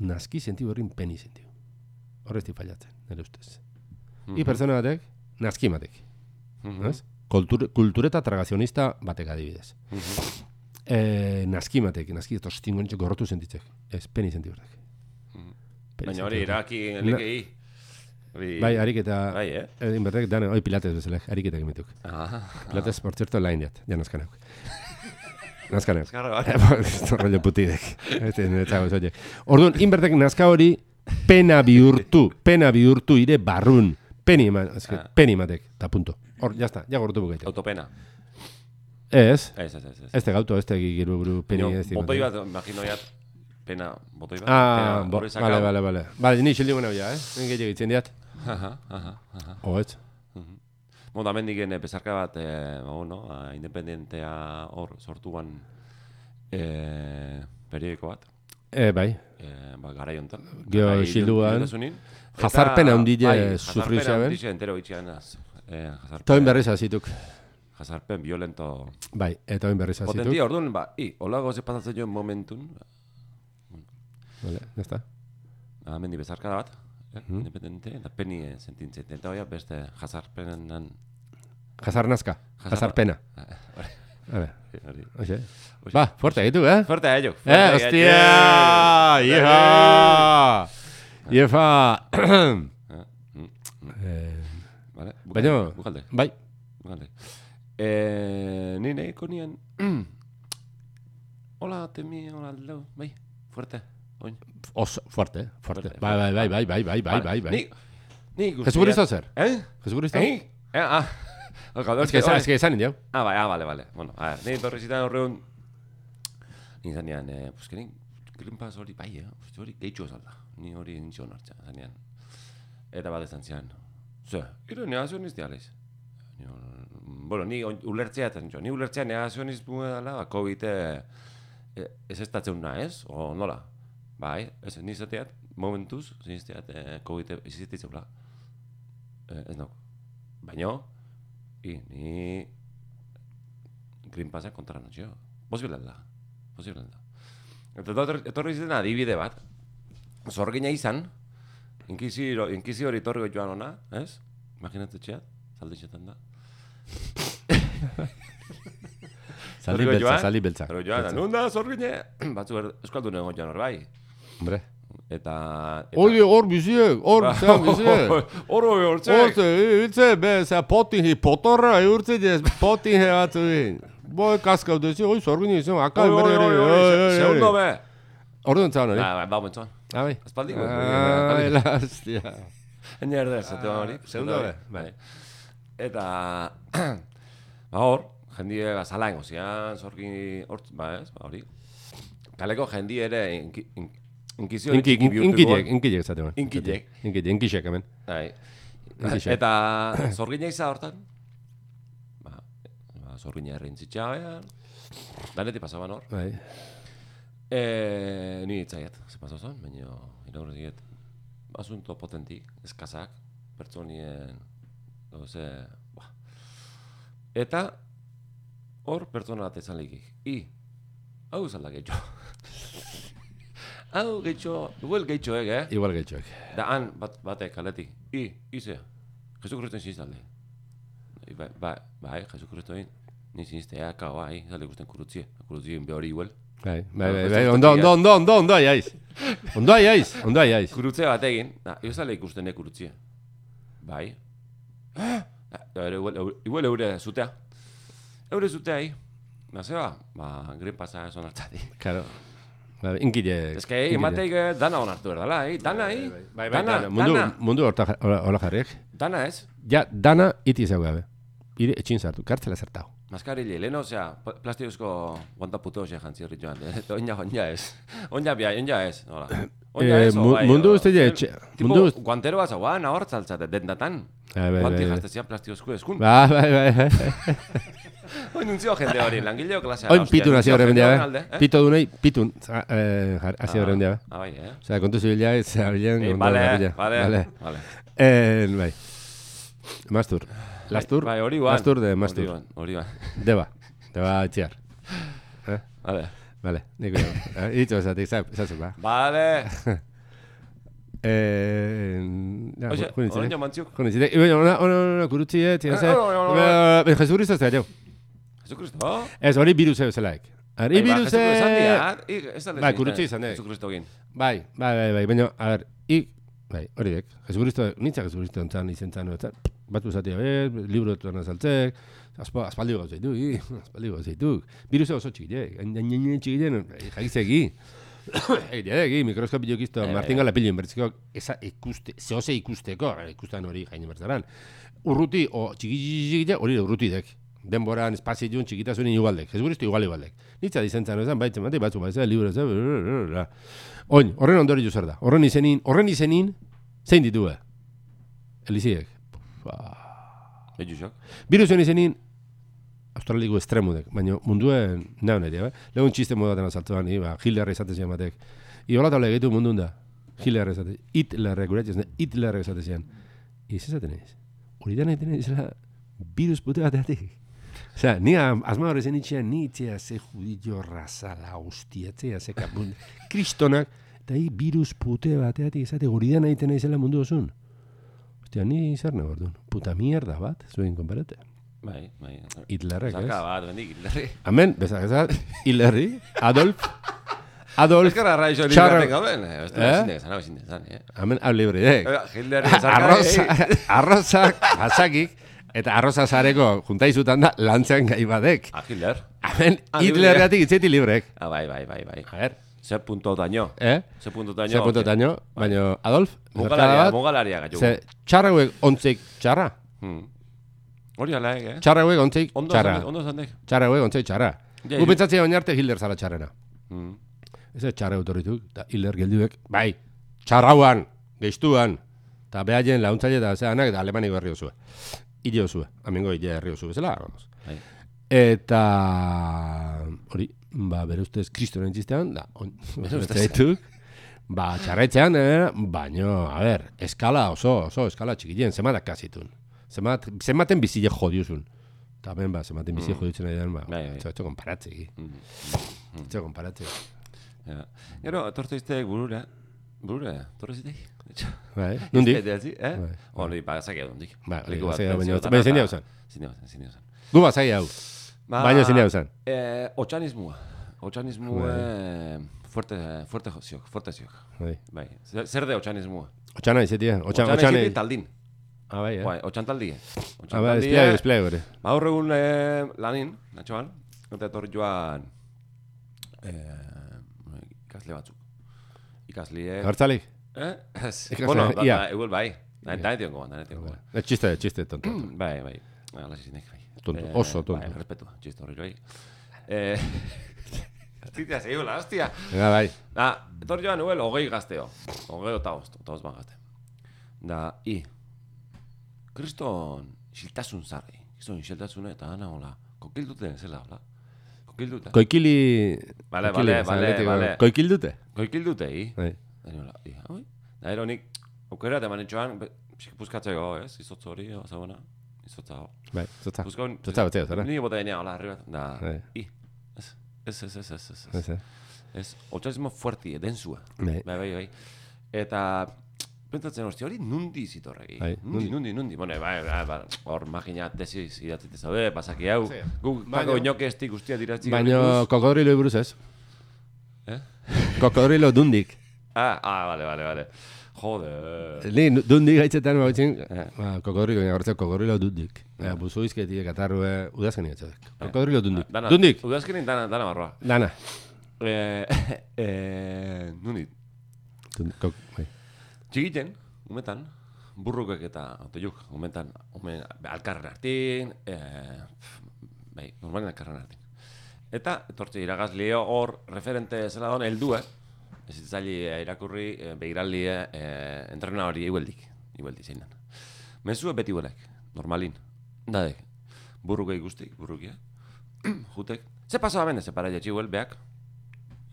Speaker 3: Naski sentiu berrin peni sentiu. Horrezti fallatzen, nire ustez.
Speaker 1: Mhm.
Speaker 3: I pertsona batek, naski matek.
Speaker 1: Mhm.
Speaker 3: ez? Kultur, kultureta tragazionista batek adibidez.
Speaker 1: Mhm.
Speaker 3: Eh, naski matek, naski tostingonitxo gorrotu sentitzek. Ez, peni sentiu berdak.
Speaker 1: Mhm. Baina hori, iraki elikei. Hori-
Speaker 3: Bai, harik eta...
Speaker 1: Bai, eh?
Speaker 3: Egin berdak, dana, oi pilates bezala, harik eta gemituk.
Speaker 1: Ah,
Speaker 3: Pilates, por cierto, lain jat, ja nazkanak. nazkanak.
Speaker 1: eskarra bai.
Speaker 3: Esto rollo putidek. Este niretzako ez horiek. Orduan, inbertek nazka hori pena bihurtu, pena bihurtu ire barrun. Peni eman, ezke,
Speaker 1: Ah.
Speaker 3: peni ematek, eta punto. Hor, jazta, ja gortu bukaite.
Speaker 1: Autopena.
Speaker 3: Ez,
Speaker 1: Ez, ez, ez. ez.
Speaker 3: ez te gauto, ez te giru buru peni
Speaker 1: Baina,
Speaker 3: ez di
Speaker 1: Botoi
Speaker 3: ematek.
Speaker 1: bat, imagino jat, pena, botoi bat.
Speaker 3: Ah,
Speaker 1: pena,
Speaker 3: bo,
Speaker 1: hori sakau.
Speaker 3: vale, vale, vale. Vale, ni xildi gona bila, eh? Nik gehiago itzen diat.
Speaker 1: Aha, aha, aha.
Speaker 3: Oetz.
Speaker 1: Bueno, hemen digen bezarka bat, eh, ba, bueno, ah, independentea hor sortuan eh, periodiko bat.
Speaker 3: Eh, bai.
Speaker 1: Eh, ba, garai honetan.
Speaker 3: Gero
Speaker 1: Garai
Speaker 3: xilduan,
Speaker 1: juntasunin. Eta,
Speaker 3: jazarpen eh, handile
Speaker 1: bai,
Speaker 3: sufri
Speaker 1: jazarpen
Speaker 3: zaben.
Speaker 1: handile entero itxian az. Eh,
Speaker 3: Eta oin
Speaker 1: jazarpen,
Speaker 3: berriz azituk.
Speaker 1: jazarpen violento
Speaker 3: Bai, eta oin berriz azituk.
Speaker 1: Potentia, orduan, ba, i, olago ze pasatzen joan momentun,
Speaker 3: Vale, jazta.
Speaker 1: hemen bezarka bat, eh?
Speaker 3: Mhm.
Speaker 1: independente, eta peni eh, sentintzen, eta hoia beste jazarpenan...
Speaker 3: Jazar nazka, jazar pena.
Speaker 1: Ah, eh,
Speaker 3: A ver,
Speaker 1: Hori.
Speaker 3: oxe. Ba, fuerte egitu, eh?
Speaker 1: Fuerte a ello. fuerte a
Speaker 3: Eh,
Speaker 1: ello.
Speaker 3: hostia!
Speaker 1: Eh,
Speaker 3: Iefa! Iefa!
Speaker 1: Eh, mm,
Speaker 3: Eh,
Speaker 1: Vale, bukalde,
Speaker 3: Baina-
Speaker 1: bukalde,
Speaker 3: bai,
Speaker 1: bukalde. Eh, ni nahiko nien... Hola, temi, hola, aldau, bai, fuerte, oin.
Speaker 3: oso, fuerte, eh, fuerte.
Speaker 1: Fuerte,
Speaker 3: Bai, bai, bai, bai, bai, bai, bai, bai, bai.
Speaker 1: Ni, ni guztiak...
Speaker 3: Jesu Kristo zer?
Speaker 1: Eh?
Speaker 3: Jesu Kristo?
Speaker 1: Eh? Eh, ah.
Speaker 3: Ez que esan, ez que esan, indiau.
Speaker 1: Ah, bai, ah, bale, bale. Bueno, a ver, nahi torri zitan horreun... Nizan nian, eh, pues que nik Green Pass hori, bai, eh, uste hori gehitxo ezalda. Ni hori nintxo onartza, zan nian. Eta bat ezan zian. Ze, gero negazionizti alaiz. Ni, mm, Bueno, ni on- ulertzea eta nintxo. Ni ulertzea negazionizmu edala, ba, COVID eh, eh, ez ez tatzeuna, ez? O nola? Bai, ez, ni zateat, momentuz, zinizteat, eh, COVID ez ez tatzeuna. Eh, ez nauk. Baina, I, ni Green Passa kontra notxio. Posible da. Posible da. Eta etor- etorri ziren adibide bat. Zorgina izan, inkizio, inkizio hori torri joan ona, ez? Imaginatze txea, zaldi txetan da.
Speaker 3: Zaldi
Speaker 1: Zorriko
Speaker 3: beltza,
Speaker 1: joan,
Speaker 3: zaldi beltza.
Speaker 1: Pero joan,
Speaker 3: Beltza.
Speaker 1: nunda zorgine, batzu er, euskaldun egon joan hor bai.
Speaker 3: Hombre.
Speaker 1: Eta... eta
Speaker 3: Oie, hor biziek, hor
Speaker 1: Ba,
Speaker 3: biziek, biziek.
Speaker 1: Hor hori hortzek.
Speaker 3: Hortze, hiltze, be, zea potihi, potorra, hiltze, ez potihi batzu egin. Boi, kaskau dezi, oi, zorgin izan, akal
Speaker 1: Hor
Speaker 3: berri,
Speaker 1: hori
Speaker 3: hori,
Speaker 1: hori Segundo be.
Speaker 3: Orduan zaun hori?
Speaker 1: Ba, ba, ba, mentzuan.
Speaker 3: Ah, bai.
Speaker 1: Aspaldi, bai,
Speaker 3: Ai,
Speaker 1: aspaldi.
Speaker 3: lastia.
Speaker 1: Ene erde, zate hori.
Speaker 3: segundo
Speaker 1: zate hori.
Speaker 3: be, Ah, bai.
Speaker 1: Eta, ba hor, jendie bazala ingo zian, zorki, hor, ba ez, ba hori. Kaleko jendie ere inki, in, inkizio
Speaker 3: Inki,
Speaker 1: txiki bihurtu
Speaker 3: inkilek,
Speaker 1: dugu.
Speaker 3: inkilek zaten. hori.
Speaker 1: Inkilek.
Speaker 3: Inkilek, inkilek hemen.
Speaker 1: Bai.
Speaker 3: Inkilek.
Speaker 1: Eta zorgina iza hortan, ba, ba zorgina errein zitxabean, danetik pasaban hor.
Speaker 3: Bai.
Speaker 1: E, ni itzaiat, ze pasau zen, baina iraurriet asunto potentik, eskazak, pertsonien gauze, ba. Eta hor pertsona bat ezan likik. I, hau zalda gehitxo. hau gehitxo, igual gehitxo ege, eh?
Speaker 3: Igual gehitxoak.
Speaker 1: Da han bat, batek kaletik. I, ize, Jesu Kristo ziniztalde. Bai, bai, bai, Jesu Kristo egin. Ni ziniztea, kao, bai, zalde ikusten kurutzie. Kurutzien behori igual.
Speaker 3: Bai, bai,
Speaker 1: Ah,
Speaker 3: bai,
Speaker 1: ez
Speaker 3: bai,
Speaker 1: dut
Speaker 3: ondo,
Speaker 1: egia.
Speaker 3: ondo, ondo, ondo, ondo, aiz. Ondo, aiz, ondo, aiz.
Speaker 1: Kurutze bat egin, da, eusale ikusten ne kurutzia. Bai. Da, da, ere, igual eure- igual eure zutea. Eure zutea, hi. Nazeba, ba, gren pasa ez onartzati.
Speaker 3: Claro. Bai, inkilek.
Speaker 1: Ez que, hi, emateik eh, dana onartu erdala, hi. Dana, hi.
Speaker 3: Bai, bai,
Speaker 1: Dana,
Speaker 3: dana. Mundu,
Speaker 1: dana.
Speaker 3: mundu horta, ja- hola hola jarriek.
Speaker 1: Dana ez.
Speaker 3: Ja, dana iti zeu gabe. Ire etxin sartu, kartzela zertau.
Speaker 1: Maskarili, lehen, osea, pl- plastikozko guanta puto osea jantzirri joan. eh, Eta oina, oina ez. Oina bia, oina ez. Nola. Oina
Speaker 3: Eh,
Speaker 1: ez, o
Speaker 3: mu-
Speaker 1: bai,
Speaker 3: mundu
Speaker 1: o-
Speaker 3: uste ja etxe-
Speaker 1: Tipo,
Speaker 3: mundu uste-
Speaker 1: guantero bat zauan, ahor tzaltzate, dendatan.
Speaker 3: Bai, bai,
Speaker 1: Guanti
Speaker 3: bai, bai.
Speaker 1: jaztezian plastikozko eskun.
Speaker 3: Ba, bai, bai.
Speaker 1: Oin nuntzio jende hori, langileo klasea.
Speaker 3: Oin
Speaker 1: hostia,
Speaker 3: pitun hasi
Speaker 1: nuntzio
Speaker 3: horre
Speaker 1: jende
Speaker 3: mendea,
Speaker 1: horren
Speaker 3: bai.
Speaker 1: alde, eh?
Speaker 3: Pito dunei, pitun za- eh, jar- hasi horre mendea, bai.
Speaker 1: Ah, bai, eh?
Speaker 3: Osea, kontu zibila ez abilen...
Speaker 1: Eh,
Speaker 3: ondo
Speaker 1: Bale,
Speaker 3: gabila.
Speaker 1: bale, bale.
Speaker 3: En, bai. Mastur. Lastur.
Speaker 1: Bai, hori guan.
Speaker 3: Lastur de mastur.
Speaker 1: Hori guan, hori guan.
Speaker 3: Deba. Deba etxear. Eh?
Speaker 1: Bale.
Speaker 3: Vale, nik uda. Itxo esatik, esatzen ba.
Speaker 1: Bale.
Speaker 3: Eh, ja,
Speaker 1: Oxe,
Speaker 3: jo- jo nintzen, eh?
Speaker 1: orain mantziuk.
Speaker 3: Jo nintzen, eh? Bueno, ona, ona, ona, kurutzi, eh, tira, ze-
Speaker 1: Eh, ona, ona, ona.
Speaker 3: Eh, Jesucristo ez da, jau.
Speaker 1: Jesucristo.
Speaker 3: Ez, hori eh, biruze bezalaik. Hori
Speaker 1: Bai, ba,
Speaker 3: biruze...
Speaker 1: Jesucristo esan dira, eh? Ik- ez da
Speaker 3: Bai,
Speaker 1: lezin,
Speaker 3: kurutzi
Speaker 1: eh,
Speaker 3: izan dek.
Speaker 1: Jesucristo egin.
Speaker 3: Bai, bai, bai, bai, baina, a ber, i, bai, hori dek, Jesucristo, nintzak Jesucristo entzan, izentzan, entzan, batu zatia bez, libro etuan azaltzek, azpa, aspaldi gauz zeitu, i, aspaldi gauz zeitu, biruza oso txikidek, hain hain hain eh, hain txikidek, jakizegi, Egitea da, egi, mikroskopio ikizto,
Speaker 1: bai,
Speaker 3: Martin Galapillo inbertzikoak, eza ikuste, zehose ikusteko, eh, ikustan hori jain inbertzaran, urruti, o, txikitxikitia, hori da urrutidek, denboran, espazioan, txikitasunin igaldek, Jesucristo igual igualdek. Nitza dizentzan, ezan, baitzen, batek, batzu, batzea, libro, ezan, blablabla. Oin, horren ondori zer da. Horren izenin, horren izenin, zein ditu be? Eliziek. Bai,
Speaker 1: Bejusok.
Speaker 3: Biruzen izenin, australiko estremudek, baina munduen nahi nire, eh? Legon txiste modaten azaltuan, iba, ba, Hitler esaten zian batek. Iola taula egitu mundun da. Hitler esaten, Hitlerrek guretzen, Hitlerrek esaten zian. Iz esaten ez. Hori da nahi tenez, izela, virus pute bateatik. Osea, ni am- asma horre zen itxean, ni itxea ze judio razala hostiatzea, ze kapun, kristonak, eta hi virus pute bateatik izate, hori da nahi tenez, izela mundu osun. Ostia, ni zer nahi bordun, puta mierda bat, zuen konparate.
Speaker 1: Bai, bai.
Speaker 3: Hitlerrek, ez?
Speaker 1: Zarka bat, bendik, Hitlerri.
Speaker 3: Hemen, bezak ezak, Hilerri, Adolf, Adolf,
Speaker 1: Ezkerra arraizo hori
Speaker 3: Txarra-
Speaker 1: batek gauden. eh? Beste
Speaker 3: Eh?
Speaker 1: ezin dezan, hau ezin dezan, eh?
Speaker 3: hemen hau libreek.
Speaker 1: Eh, Hitlerri zarka,
Speaker 3: Arroza,
Speaker 1: eh,
Speaker 3: arrozak, azakik, eta arroza zareko juntaizutan da lantzen gai badek.
Speaker 1: Ah, Hitler.
Speaker 3: Hemen,
Speaker 1: Ah,
Speaker 3: Hitlerreatik itzeiti libreek.
Speaker 1: Ah, bai, bai, bai, bai.
Speaker 3: A ver,
Speaker 1: Ze punto daño.
Speaker 3: eh?
Speaker 1: Ze punto daño.
Speaker 3: Ze punto taño, baino, Adolf,
Speaker 1: Mugalaria,
Speaker 3: zerkada bat,
Speaker 1: mugalaria gaitu.
Speaker 3: ze txarra hauek ontzik txarra,
Speaker 1: Hmm. Hori ala, eh?
Speaker 3: txarra hauek ontzik
Speaker 1: Ondo
Speaker 3: txarra,
Speaker 1: zan- Ondo zandek.
Speaker 3: txarra hauek ontzik txarra.
Speaker 1: Ja,
Speaker 3: Gu
Speaker 1: hiru-
Speaker 3: pentsatzea oin arte Hitler zara txarrena.
Speaker 1: Hmm.
Speaker 3: Ez ez txarra etorrituk, eta hiler geldiuek, bai, txarrauan, geiztuan, eta behaien launtzaile eta zeanak, eta alemaniko herri osue. Ile osue, amengo ile herri osue bezala. vamos.
Speaker 1: Bai.
Speaker 3: Eta hori, ba, bere ustez kristoren txistean, da, on, zaituk, ba, txarretxean, eh, baino, a ber, eskala oso, oso, eskala txikilien, zematak kasitun. Zemat, zematen bizile jodiuzun. Eta ben, ba, zematen bizile jodiutzen ari den, ba,
Speaker 1: Bai, bai.
Speaker 3: etxo, etxo konparatzegi. Etxo konparatzegi.
Speaker 1: Ja. Gero, etorte izteik burura. Burura, etorri izteik.
Speaker 3: Bai, nondik?
Speaker 1: Eta zi, eh?
Speaker 3: Bai.
Speaker 1: Hori, ba, zakia dundik.
Speaker 3: Ba, hori,
Speaker 1: Leku bat,
Speaker 3: zakia, baina-
Speaker 1: pentsiotan
Speaker 3: baina zein
Speaker 1: eta-
Speaker 3: hau zen?
Speaker 1: Zein hau zen, zein hau zen.
Speaker 3: Gu bazai hau.
Speaker 1: Ba,
Speaker 3: Baina zein hau zen?
Speaker 1: Eh, otxanismua. Otxanismua, eh, fuerte, fuerte joziok, fuerte ziok.
Speaker 3: Bai.
Speaker 1: Bai, zer zer da otxanismua?
Speaker 3: Otxana izetia. Otxan,
Speaker 1: Otxan
Speaker 3: otxan.
Speaker 1: ez taldin.
Speaker 3: Ah, bai, eh.
Speaker 1: Bai, otxan taldie.
Speaker 3: Ah, bai, esplea, esplea hori.
Speaker 1: Ba, hor egun eh, lanin, natxoan, eta etorri joan eh, ikasle batzuk. Ikaslie...
Speaker 3: Hortzalik?
Speaker 1: Eh? Ez.
Speaker 3: Ikasle,
Speaker 1: Bueno, ba,
Speaker 3: ia.
Speaker 1: ba, eguel bai. Da- Danetion goan, danetion goan.
Speaker 3: Eh, Txiste, txiste, tonto.
Speaker 1: Bai, bai. Hala zinek, bai.
Speaker 3: Tonto,
Speaker 1: Eh,
Speaker 3: oso tonto.
Speaker 1: Bai, respetua, txisto horri bai. Eh... Hostia, zeiola, hostia.
Speaker 3: Venga, bai.
Speaker 1: Da, etorri joan nuel, hogei gazteo. Hogei eta ozt, eta ozt gazte. Da, i. Kriston xiltasun zarri. Kriston xiltasuna eta ana hola. Kokilduten zela hola. Kokilduta.
Speaker 3: Koikili...
Speaker 1: Bale,
Speaker 3: koikili,
Speaker 1: bale,
Speaker 3: esan
Speaker 1: bale,
Speaker 3: aletiko.
Speaker 1: bale.
Speaker 3: Koikildute?
Speaker 1: Kokildute, i.
Speaker 3: Bai.
Speaker 1: Da niola, i. Hoi. Da, ero nik, aukera eta manetxoan, puzkatzeko, ez? Izotz hori, hau zabona. Izotza hau.
Speaker 3: Bai, zotza.
Speaker 1: Puzkaun,
Speaker 3: Zotza batzea, zara.
Speaker 1: Ni bota denea, hola, arriba. Da,
Speaker 3: Bai.
Speaker 1: i. Ez, ez, ez, ez, ez, ez. ez.
Speaker 3: Ez, eh.
Speaker 1: Ez, otxarismo fuerti, densua.
Speaker 3: Bai.
Speaker 1: Bai, bai, bai. Eta pentsatzen hostia hori nundi zitorregi.
Speaker 3: Bai,
Speaker 1: nundi, nundi, nundi. Bueno, bai, bai, bai, hor magina tesiz idatzite zaude, pasaki hau.
Speaker 3: Sí.
Speaker 1: Guk
Speaker 3: Baina-
Speaker 1: kako inoke estik guztia diratzi.
Speaker 3: Baina kokodrilo iburuz ez.
Speaker 1: Eh?
Speaker 3: Kokodrilo dundik.
Speaker 1: Ah, ah, vale, vale, vale. Jode.
Speaker 3: Ni nu- dundik gaitzetan babitzen,
Speaker 1: Eh.
Speaker 3: ba, kokodrilo, baina hortzak kokodrilo dundik. Eh, Buzu izketiek, atarrue, udazken gaitzetak. Kokodrilo dundik.
Speaker 1: Eh. Ah, Dana,
Speaker 3: Dundik!
Speaker 1: Udazkenin dana, dana marroa.
Speaker 3: Dana.
Speaker 1: Eh, eh, nundi.
Speaker 3: Dun- kok- bai.
Speaker 1: Txigiten, umetan, burrukek eta otoiuk, umetan, umen, alkarren artin, eh, bai, normalen akarran arte. Eta, etortze iragazlio hor referente zela don heldua, ez itzali irakurri, eh, begiraldi eh, entrena hori igueldik, igueldi zein den. Mezua beti bolek, normalin, dadek, burruke ikustik, burrukia, jutek, ze paso da mende, ze para jetxi huel, beak,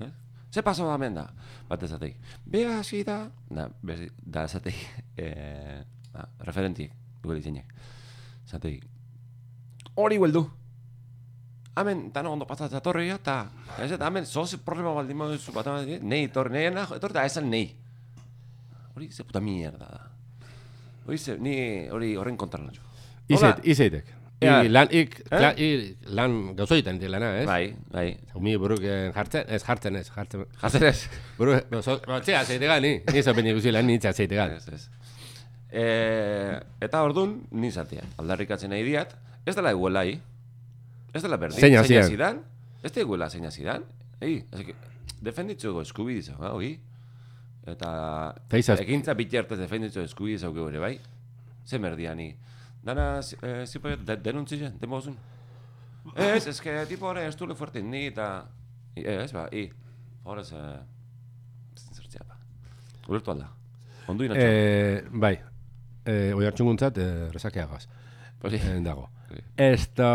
Speaker 1: eh? ze paso da menda, bat ezateik, bea hasi da, da, bezi, da ezateik, eh, ah, referentiek, igueldi zeinek, ezateik, hori hueldu, Hemen, dano ondo pasatzen atorri eta... Ez eta hemen, zoz problema baldin baduzu bat hemen, nei etorri, nei ena, etorri eta esan nei. Hori ze puta mierda da. Hori ze, ni hori horren kontra lan jo.
Speaker 3: Izeit, izeitek.
Speaker 1: Ea. Eh?
Speaker 3: I, lan, ik, kla, i, lan gauzoietan ditik lana, ez?
Speaker 1: Bai, bai.
Speaker 3: Umi buruk eh, jartzen, ez jartzen ez, jartzen.
Speaker 1: Jazen ez.
Speaker 3: Buruk, no, so, ba, txea, zeitegan, ni. Ni zopen ikusi lan, ni txea zeitegan.
Speaker 1: Ez, ez. E, eta ordun ni zatea. Aldarrikatzen nahi diat, ez dela iguelai. Ez dela berdin.
Speaker 3: Zein hasian.
Speaker 1: zidan. Ez da iguela zeina zidan. Ei, ez que, defenditzuko eskubi dizau, hau, Eta
Speaker 3: Teizaz-
Speaker 1: ekintza bitartez defenditzu eskubi dizau gure, bai? Zer merdia ni. Dana, zi- eh, zipo, de, denuntzia, demo bozun. Ez, ez que, tipo, hori, ez dule fuertin ni, eta... I- Ez, ba, i. Horrez, eh... Zertzea, ba. Ulertu alda. Ondu inatxo.
Speaker 3: Eh, bai, eh, oi hartxunguntzat, eh, resakeagaz.
Speaker 1: Hori.
Speaker 3: Eh, dago.
Speaker 1: Hori.
Speaker 3: Esto...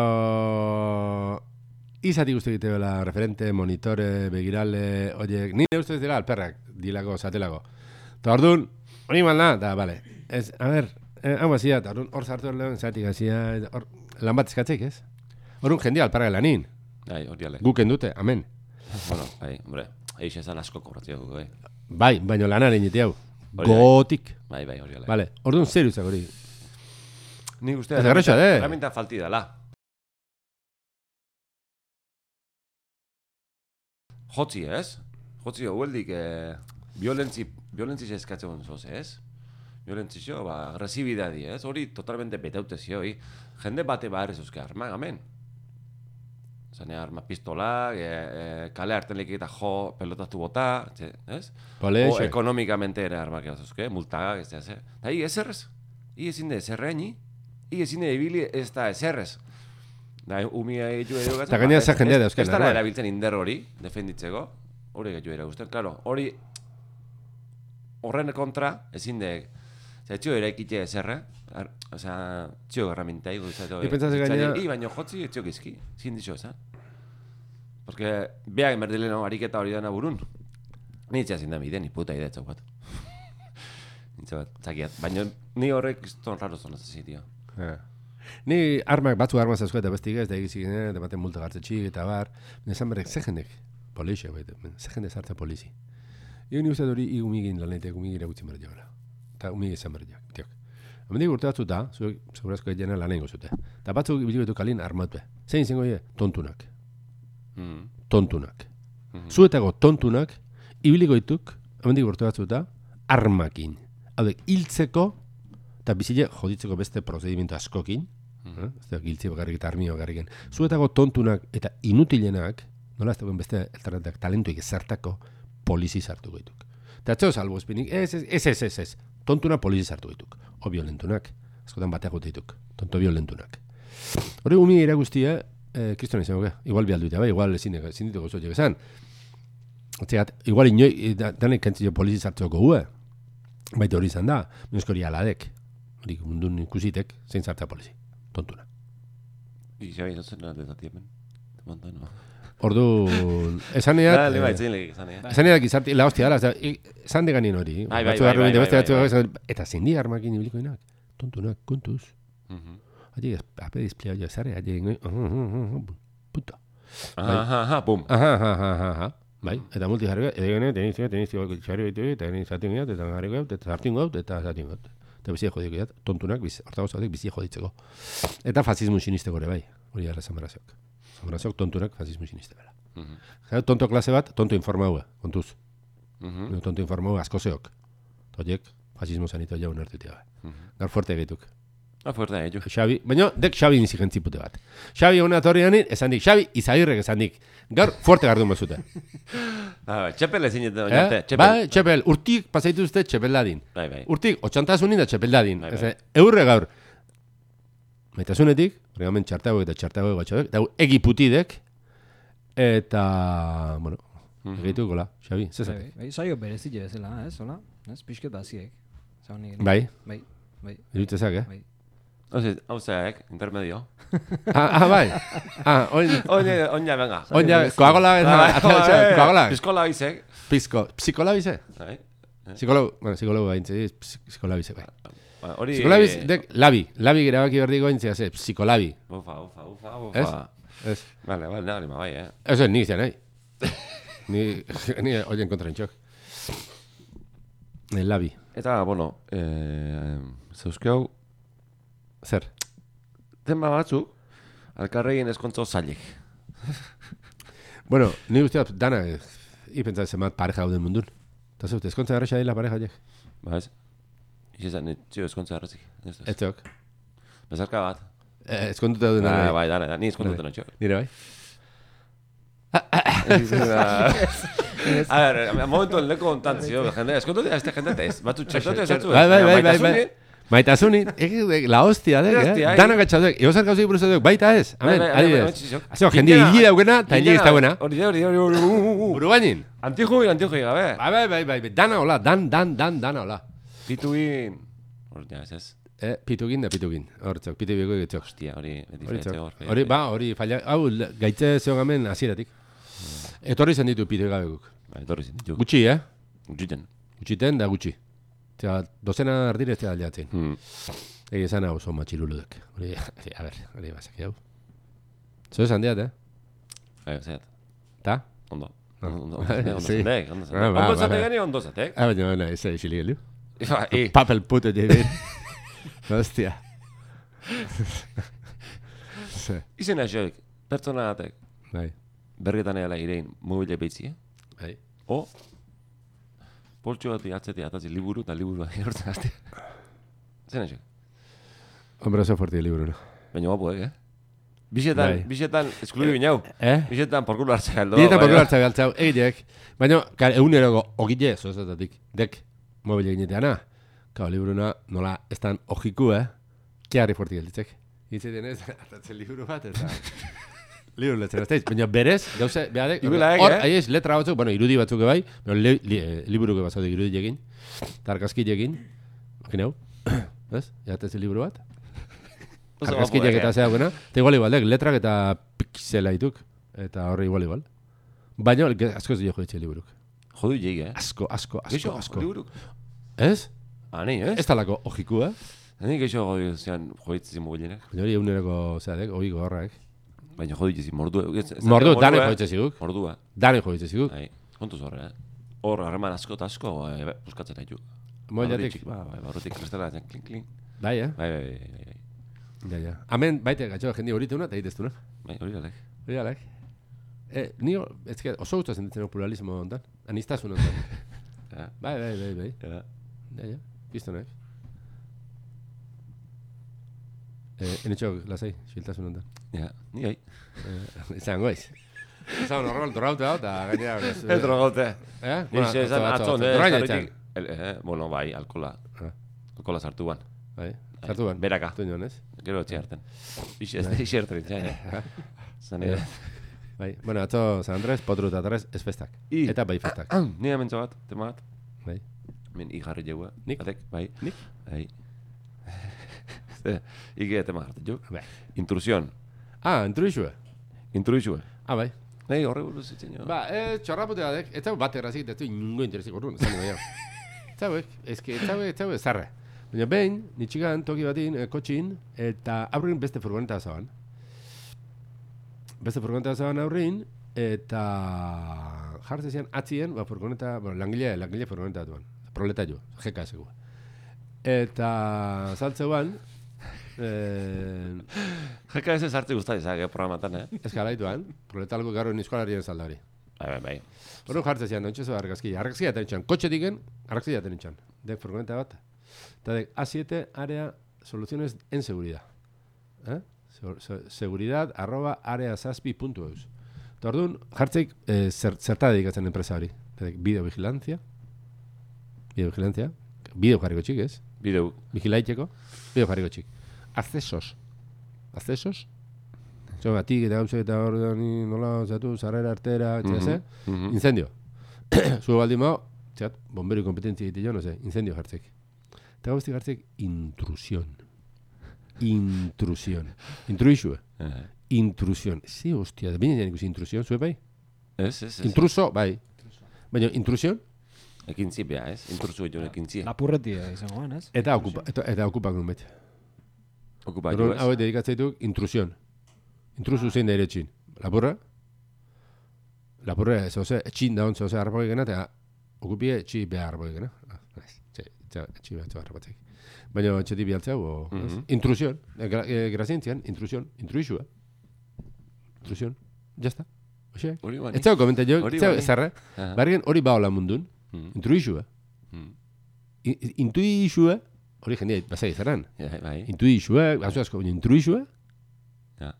Speaker 3: Izati guzti egite bela referente, monitore, begirale, oiek... Nire ustez dira alperrak, dilako, satelako. Eta orduan, hori malda, eta bale. Ez, a ber, eh, hau bazia, eta orduan hor zartu erlean, zatik hazia, eta hor, lan bat eskatzek, ez? Orduan jendia alperrak lanin,
Speaker 1: Bai, hori ale.
Speaker 3: guk endute, amen.
Speaker 1: Bueno, bai, hombre. Eixe esan asko kobratzio dugu, bai.
Speaker 3: Bai, baino lanaren jite hau.
Speaker 1: Hori da.
Speaker 3: Gotik.
Speaker 1: Bai, bai, hori ale.
Speaker 3: Bale, orduan zer uzak hori.
Speaker 1: Ni uste...
Speaker 3: Ez erraxa, eh?
Speaker 1: Herramienta falti dela. Jotzi, ez? Jotzi, hueldik, eh, violentzi, violentzi eskatzen zoz, ez? Violentzio, ba, agresibidadi, ez? Hori totalmente betaute zioi. Jende bate behar ez euske arma, amen. Zanea arma pistola, e, e, kale hartan lekik eta jo, pelotatu bota, etxe, ez?
Speaker 3: Bale,
Speaker 1: o
Speaker 3: xe.
Speaker 1: ekonomikamente ere armak erazuzke, multagak ez da ezer. Da, hi ezerrez. Hi ezin da ezerrean, hi. Hi ezin da ibili ez da ezerrez. Da, umia egitu edo gatzen.
Speaker 3: Eta gainera zer jendea da euskal
Speaker 1: Ez dara
Speaker 3: herrian.
Speaker 1: erabiltzen inder hori, defenditzeko. Hori gehiago eragusten, klaro. Hori horren kontra ezin da... Osea, etxio eraikite ezerra. Ar, osea, etxio garramintai guztatu.
Speaker 3: Ni pentsatzen gainera-
Speaker 1: I, baino jotzi etxio gizki. Zin dizo, esan. Porque beak merdeleno ariketa hori dana burun. Ni itxea zindan bide, ni puta idea etxau bat. Nintxe bat, txakiat. Baina ni horrek kriston raro zonaz ez zitio.
Speaker 3: Ah. Ni armak batzu arma zasko eta bestik ez, da egizik ginen, eta baten multa gartzetxik eta bar. Baina esan berek, ze jendek, polizia baita, ze jende zartzen polizi. Ego ni uste dut hori igu migin lanetek, umigin eragutzen berri joala. Eta umigin esan berri joak, tiok. Hemendik urte batzu da, zuek segurazko egin lan egingo zute. Eta batzuk bilibetu kalin armatue. Zein izango die? Tontunak.
Speaker 1: Mm.
Speaker 3: Tontunak. Zuetako tontunak, ibiliko dituk, hemendik urte batzu da, armakin. Hau da, hiltzeko, eta bizile joditzeko beste prozedimentu askokin, Eh? Ez da, giltzi bakarrik eta armio bakarriken. Zuetako tontunak eta inutilenak, nola ez dagoen beste alternatak talentuik ezartako, polizi sartu gaituk. Eta atzo salbo espinik, ez, ez, ez, ez, ez, ez, tontuna polizi sartu gaituk. O violentunak, askotan bateak gote dituk, tonto violentunak. Hori gumi iragustia, eh, kriston izango ge, igual bialduita, bai, igual ezin, ezin ditugu zoiek esan. Zegat, igual inoi, da, danek kantzio polizi sartzeko gue, baita hori izan da, minuzko hori aladek, hori mundun ikusitek, zein sartza polizi, tontuna.
Speaker 1: Ixo, ino zen alde zati hemen. Manda, no.
Speaker 3: Ordu, esaneat...
Speaker 1: Dale, bai, zein legik zan, eh?
Speaker 3: Esaneat gizarte, la hostia dara, oza, i- esan deganin hori.
Speaker 1: Bai, bai,
Speaker 3: batzu
Speaker 1: bai,
Speaker 3: garru
Speaker 1: bai,
Speaker 3: binte,
Speaker 1: bai,
Speaker 3: beste
Speaker 1: bai,
Speaker 3: batzu
Speaker 1: bai.
Speaker 3: garru- Eta zindi armakin ibilikoinak. Tontunak, kontuz.
Speaker 1: Mhm.
Speaker 3: Hati, ape dizplea joa zare, hati, ingoi, ah, ah, ah, ah, puta.
Speaker 1: Aha, aha, aha, bum.
Speaker 3: Aha, aha, aha, aha, aha. Bai, eta multi jarri behar, edo gane, tenizio, tenizio, txarri baitu, eta gane zatin gaut, eta jarri gaut, eta zartin gaut, eta zatin gaut. Eta bizia jodiko jat, tontunak, biz, hortago zautek bizia joditzeko. Eta fasismo sinisteko ere bai, hori gara zamarazok. Zamarazok tontunak fasismo siniste bera.
Speaker 1: Mhm.
Speaker 3: Zara, tonto klase bat, tonto informaua, kontuz.
Speaker 1: Mhm.
Speaker 3: Mm. Tonto informaua asko zeok. Toiek, fasismo sanito jaun hartutia bai.
Speaker 1: Mhm.
Speaker 3: Gar fuerte egituk.
Speaker 1: Ah, fuerte, eh, jo.
Speaker 3: Xabi, baina, dek Xabi inzigentzipute bat. Xabi hona torri ganin, esan dik, Xabi izagirrek esan dik. Gaur, fuerte gardun bazute.
Speaker 1: Ah, bai, txepel ezin jete, oinarte,
Speaker 3: Eh?
Speaker 1: txepel.
Speaker 3: Bai, txepel, urtik pasaituzte txepeladin.
Speaker 1: Bai, bai.
Speaker 3: Urtik, otxantasunin da txepeladin.
Speaker 1: Bai,
Speaker 3: Ez,
Speaker 1: bai.
Speaker 3: Eurre gaur. Maitasunetik, Bregamen txartagoek eta txartagoek batxoek, eta hau egi putidek, eta, bueno,
Speaker 1: Mhm.
Speaker 3: egituko la, Xabi, zezak.
Speaker 2: Bai, saio berezile bezala, ez, hola? Ez, pixket baziek. Zau nik-
Speaker 3: Bai,
Speaker 2: Bai, bai,
Speaker 3: irutzezak, eh?
Speaker 2: bai.
Speaker 1: Hauze, hauzeak, intermedio.
Speaker 3: ah, ah, bai, ah, oin,
Speaker 1: Oine, oina, venga.
Speaker 3: oin, ja, koagola,
Speaker 1: Bai, bai,
Speaker 3: koagola,
Speaker 1: Piskola izek.
Speaker 3: pizko, psikolabize,
Speaker 1: Bai.
Speaker 3: psikologu, bueno, psikologu gaintze, psikolabize, bai.
Speaker 1: Ba, Hori...
Speaker 3: Psikolabiz, dek, labi, labi erabaki berdi gointzea, ze, psikolabi.
Speaker 1: Ufa, ufa, ufa,
Speaker 3: Ez?
Speaker 1: ufa.
Speaker 3: Ez,
Speaker 1: Vale, vale, nada, lima, bai, eh.
Speaker 3: ez ez nik izan nahi. Ni, ni oien kontra nintxok. Eh, Labi,
Speaker 1: Eta, bueno, eh, zeuzkeu,
Speaker 3: zer?
Speaker 1: tema batzu, alkarregin eskontzo zailek.
Speaker 3: Bueno, ni usteat dana, eh, ipentza zenbat pareja hauden mundun. Eta zeute, eskontza erresa dila pareja horiek.
Speaker 1: Ba, ez? Ixezan, txio, eskontza errazik. Ez, ez.
Speaker 3: Ez zeok.
Speaker 1: Bezarka bat.
Speaker 3: Eh, Ezkontuta duen
Speaker 1: Ah,
Speaker 3: dana.
Speaker 1: bai, dara, da, ni eskontza dut notxo.
Speaker 3: Nire bai.
Speaker 1: A ver, a momentu leko ontan, zio, jende, eskontza dut, este jende tez. Batzu txertote esatzu.
Speaker 3: Bai, bai, bai, bai, bai.
Speaker 1: Maitasunin,
Speaker 3: Maitasunin, ege, la hostia dek,
Speaker 1: La
Speaker 3: eh?
Speaker 1: hostia, eh.
Speaker 3: Dana gatxatuek, egozer gauzik buruz dut, baita ez?
Speaker 1: Bai,
Speaker 3: Amen,
Speaker 1: bai, bai, bai,
Speaker 3: adibidez.
Speaker 1: bai, bai.
Speaker 3: Azio, jende
Speaker 1: Gintena-
Speaker 3: higi daugena, eta higi ez
Speaker 1: gintena-
Speaker 3: dagoena.
Speaker 1: Hori da, hori da, hori da, hori da, hori da, hori da.
Speaker 3: Buru bainin.
Speaker 1: Antijubil, antijubil, gabe.
Speaker 3: Bai, bai, bai, bai, bai, dana hola, dan, dan, dan, dana hola.
Speaker 1: Pituin. Hori da, ez ez.
Speaker 3: Eh, pitugin da pitugin, hortzok, pitugiko egitzok.
Speaker 1: Hostia, hori, beti
Speaker 3: Hori,
Speaker 1: zaitze
Speaker 3: txok.
Speaker 1: hor.
Speaker 3: hori, ba, hori, faila, hau, le- gaitze zeo gamen hasieratik. Hmm. Etorri zen ditu pite gabekuk.
Speaker 1: Ba, etorri zen ditu.
Speaker 3: Gutxi, eh?
Speaker 1: Gutxiten.
Speaker 3: Gutxiten da gutxi. Zera, dozena ardire ez da aldeatzen.
Speaker 1: Hmm.
Speaker 3: Egi esan hau, zon matxiluludek. Hori, a ber, hori bazaki hau. Zeo esan diat, eh?
Speaker 1: Bai, zeat.
Speaker 3: Ta?
Speaker 1: Ondo.
Speaker 3: Ah.
Speaker 1: Ondo,
Speaker 3: Bai,
Speaker 1: ondo,
Speaker 3: sí.
Speaker 1: zatek, ondo zatek.
Speaker 3: Ah, ba,
Speaker 1: Ondo
Speaker 3: ba,
Speaker 1: zatek
Speaker 3: ba.
Speaker 1: gani, ondo zatek.
Speaker 3: Ah, baina, baina, ez da isilik heldu.
Speaker 1: Ba, i.
Speaker 3: Papel puto jebin. Hostia. Ze,
Speaker 1: Izen aixoik, pertsona batek,
Speaker 3: bai,
Speaker 1: bergetan eala irein mobile beitzi, eh?
Speaker 3: bai.
Speaker 1: O, poltsu bat atzetik atazi liburu eta liburu bat erortzen azte. Zen aixoik.
Speaker 3: Hombre, oso fuerte liburu, no?
Speaker 1: Baina guapoek, eh? Bixetan,
Speaker 3: Bai.
Speaker 1: bixetan, esklubi binau.
Speaker 3: Eh?
Speaker 1: Bixetan porkulo hartzea aldo.
Speaker 3: Dieta
Speaker 1: baina-
Speaker 3: pokero hartza galtzau, egiteak. Baina, kar, eguneroko ogile zozetatik, dek, mobile egiteana. Kau, liburuna nola ez dan ojiku, eh? Kearri fuerti gelditzek. Itzeten ez, hartatzen liburu bat, eta... liburu letzen ez baina berez, gauze, behadek,
Speaker 1: Ibilak,
Speaker 3: hor,
Speaker 1: eh?
Speaker 3: aiez, letra batzuk, bueno, irudi batzuk bai, baina li, li, eh, liburuke batzaudik irudi egin, tarkazki egin, makin hau, ez? Jatetzen liburu bat,
Speaker 1: Oso guapoek,
Speaker 3: Argazkiak eta
Speaker 1: eh?
Speaker 3: zea duena. Eta igual igualdek, letrak eta pixela dituk. Eta horre igual igual. Baina ge- asko ez dio joitxe liburuk.
Speaker 1: Jodu jegi, eh?
Speaker 3: Asko, asko,
Speaker 1: Geixo,
Speaker 3: asko, asko.
Speaker 1: liburu.
Speaker 3: Ez?
Speaker 1: Ani, eh?
Speaker 3: Ez talako ojiku, eh?
Speaker 1: Ani geixo jodu zean joitzi mobilenak.
Speaker 3: Baina hori egunerako zeadek, hoi gorrak.
Speaker 1: Baina jodu jezi, mordu.
Speaker 3: Mordu, dane joitxe ziguk.
Speaker 1: Mordua.
Speaker 3: Dane joitxe ziguk.
Speaker 1: Bai, kontuz horre, eh? Hor, harreman asko eta asko, eh, be- buskatzen nahi du.
Speaker 3: Moilatik.
Speaker 1: Ba, bai, barrutik kristela, zen, klin, klin.
Speaker 3: Bai, eh?
Speaker 1: Bai, bai, bai, bai, bai.
Speaker 3: Ja, ja. Hemen, baite, gatxo, jende hori teuna eta egiteztuna.
Speaker 1: Bai, hori dalek.
Speaker 3: Hori alak. Eh, ni, hor- ez que, oso guztua zenditzen hau pluralismo ondan. Anistazun ondan.
Speaker 1: Ja,
Speaker 3: Bai, bai, bai, bai.
Speaker 1: ja.
Speaker 3: Ja, ja. Pistonak. Eh, enetxok, lasai, xiltasun ondan.
Speaker 1: Ja, ni gai.
Speaker 3: Izango goiz. Izan horrel dorauta da, gainera.
Speaker 1: Ez drogote.
Speaker 3: Eh? Bueno,
Speaker 1: Nixe, esan
Speaker 3: atzo,
Speaker 1: atzon, eh?
Speaker 3: Dorraina
Speaker 1: zarritik-
Speaker 3: izan.
Speaker 1: El- eh, Bueno, bai, alkola.
Speaker 3: Ah.
Speaker 1: Alkola sartu ban.
Speaker 3: Bai, sartu ban. Bai.
Speaker 1: Beraka.
Speaker 3: Sartu nion, ez?
Speaker 1: Gero etxe hartan. Ixe, ixe hartan, eh. ja. Zan, eh.
Speaker 3: Bai, bueno, atzo San Andres, potru eta tres, ez festak.
Speaker 1: I.
Speaker 3: Eta bai festak.
Speaker 1: Ni hementzo bat, tema bat.
Speaker 3: Bai.
Speaker 1: Min, i jarri jeua.
Speaker 3: Nik?
Speaker 1: Batek, bai.
Speaker 3: Nik?
Speaker 1: Bai. Ze, Ige tema hartu jo.
Speaker 3: Bai.
Speaker 1: Intrusión.
Speaker 3: Ah, entruixue.
Speaker 1: Intrusión.
Speaker 3: Ah, bai.
Speaker 1: Nei, horre buruz itzen jo.
Speaker 3: Ba, eh, txorrapute batek, ez zau bat errazik, ez zau inungo interesik orduan, zan baina. Ez zau, eh, ez que, ez zau, ez zau, zarra. Baina behin, nitxigan, toki batin, eh, kotxin, eta aurrin beste furgoneta zaban. Beste furgoneta zaban aurrin, eta jartzen zian atzien, ba, furgoneta, bueno, langile, langile furgoneta duan. Proleta jo, jeka ezegu. Eta saltzeuan, eh,
Speaker 1: Jaka ez ez hartzi guztai zak, eh, programatan, eh?
Speaker 3: eskalaituan, proletalgo garo nizkolarien zaldari.
Speaker 1: Bai, bai, bai.
Speaker 3: Horro jartzen zian, nontxe zo argazkia. Argazkia eta nintxan, kotxe diken, argazkia eta nintxan. Dek furgoneta bat. Eta dek, A7 área soluciones en seguridad. Eh? Se- se- Seguridad arroba area zazpi puntu eus. Eta orduan, jartzeik eh, zer, zerta dedikatzen enpresa hori. Eta dek, videovigilancia. Videovigilancia. Bideo jarriko txik, ez?
Speaker 1: Bideu.
Speaker 3: Vigilaiteko. Bideo jarriko txik. Accesos. accesos. Zo, batik eta gauzak eta hor da ni nola zatu, zarrera artera, etxea ze.
Speaker 1: Mhm.
Speaker 3: Incendio. Zu baldin bau, txat, bomberi kompetentzia egite jo, no sé, incendio jartzek. Eta gauztik jartzek intrusión. Intrusión. Intruixue.
Speaker 1: Eh,
Speaker 3: Intrusión. Ze hostia, da bine jan ikusi intrusión, zue bai?
Speaker 1: Ez, ez, ez.
Speaker 3: Intruso, bai. Baina, intrusión,
Speaker 1: Ekintzi beha, ez? Intrutzu egin
Speaker 3: Bai.
Speaker 1: ekintzia.
Speaker 2: Lapurretia izango gan, ez?
Speaker 3: eta okupa, eta, eta okupa grunbet.
Speaker 1: Okupa
Speaker 3: Orduan,
Speaker 1: joaz.
Speaker 3: hauek dedikatzeituk intrusión. Intrusu zein da ere txin. Lapurra? Lapurra, ez oze, etxin da ontzo, oze, harrapak egena, eta okupia etxi behar harrapak egena. Ah, nice. Etxe- etxe- etxi behar harrapatzek. Baina etxetik bialtzea, bo, mm
Speaker 1: Mhm.
Speaker 3: -hmm. intrusión, Eh, gra- eh, grazientzian, intrusión, intruisua. Intrusión, jazta. Oxe,
Speaker 1: Hori bani.
Speaker 3: etxau komenta jo,
Speaker 1: Hori bai. Ah.
Speaker 3: etxau,
Speaker 1: bani.
Speaker 3: zarra,
Speaker 1: Aha.
Speaker 3: bargen hori baola mundun,
Speaker 1: Mhm.
Speaker 3: intruisua.
Speaker 1: Mhm.
Speaker 3: I- i- Intuisua, hori jendea, bazai zaran.
Speaker 1: Ja, bai.
Speaker 3: Intuisua, gauza asko, baina intruisua.
Speaker 1: Ja.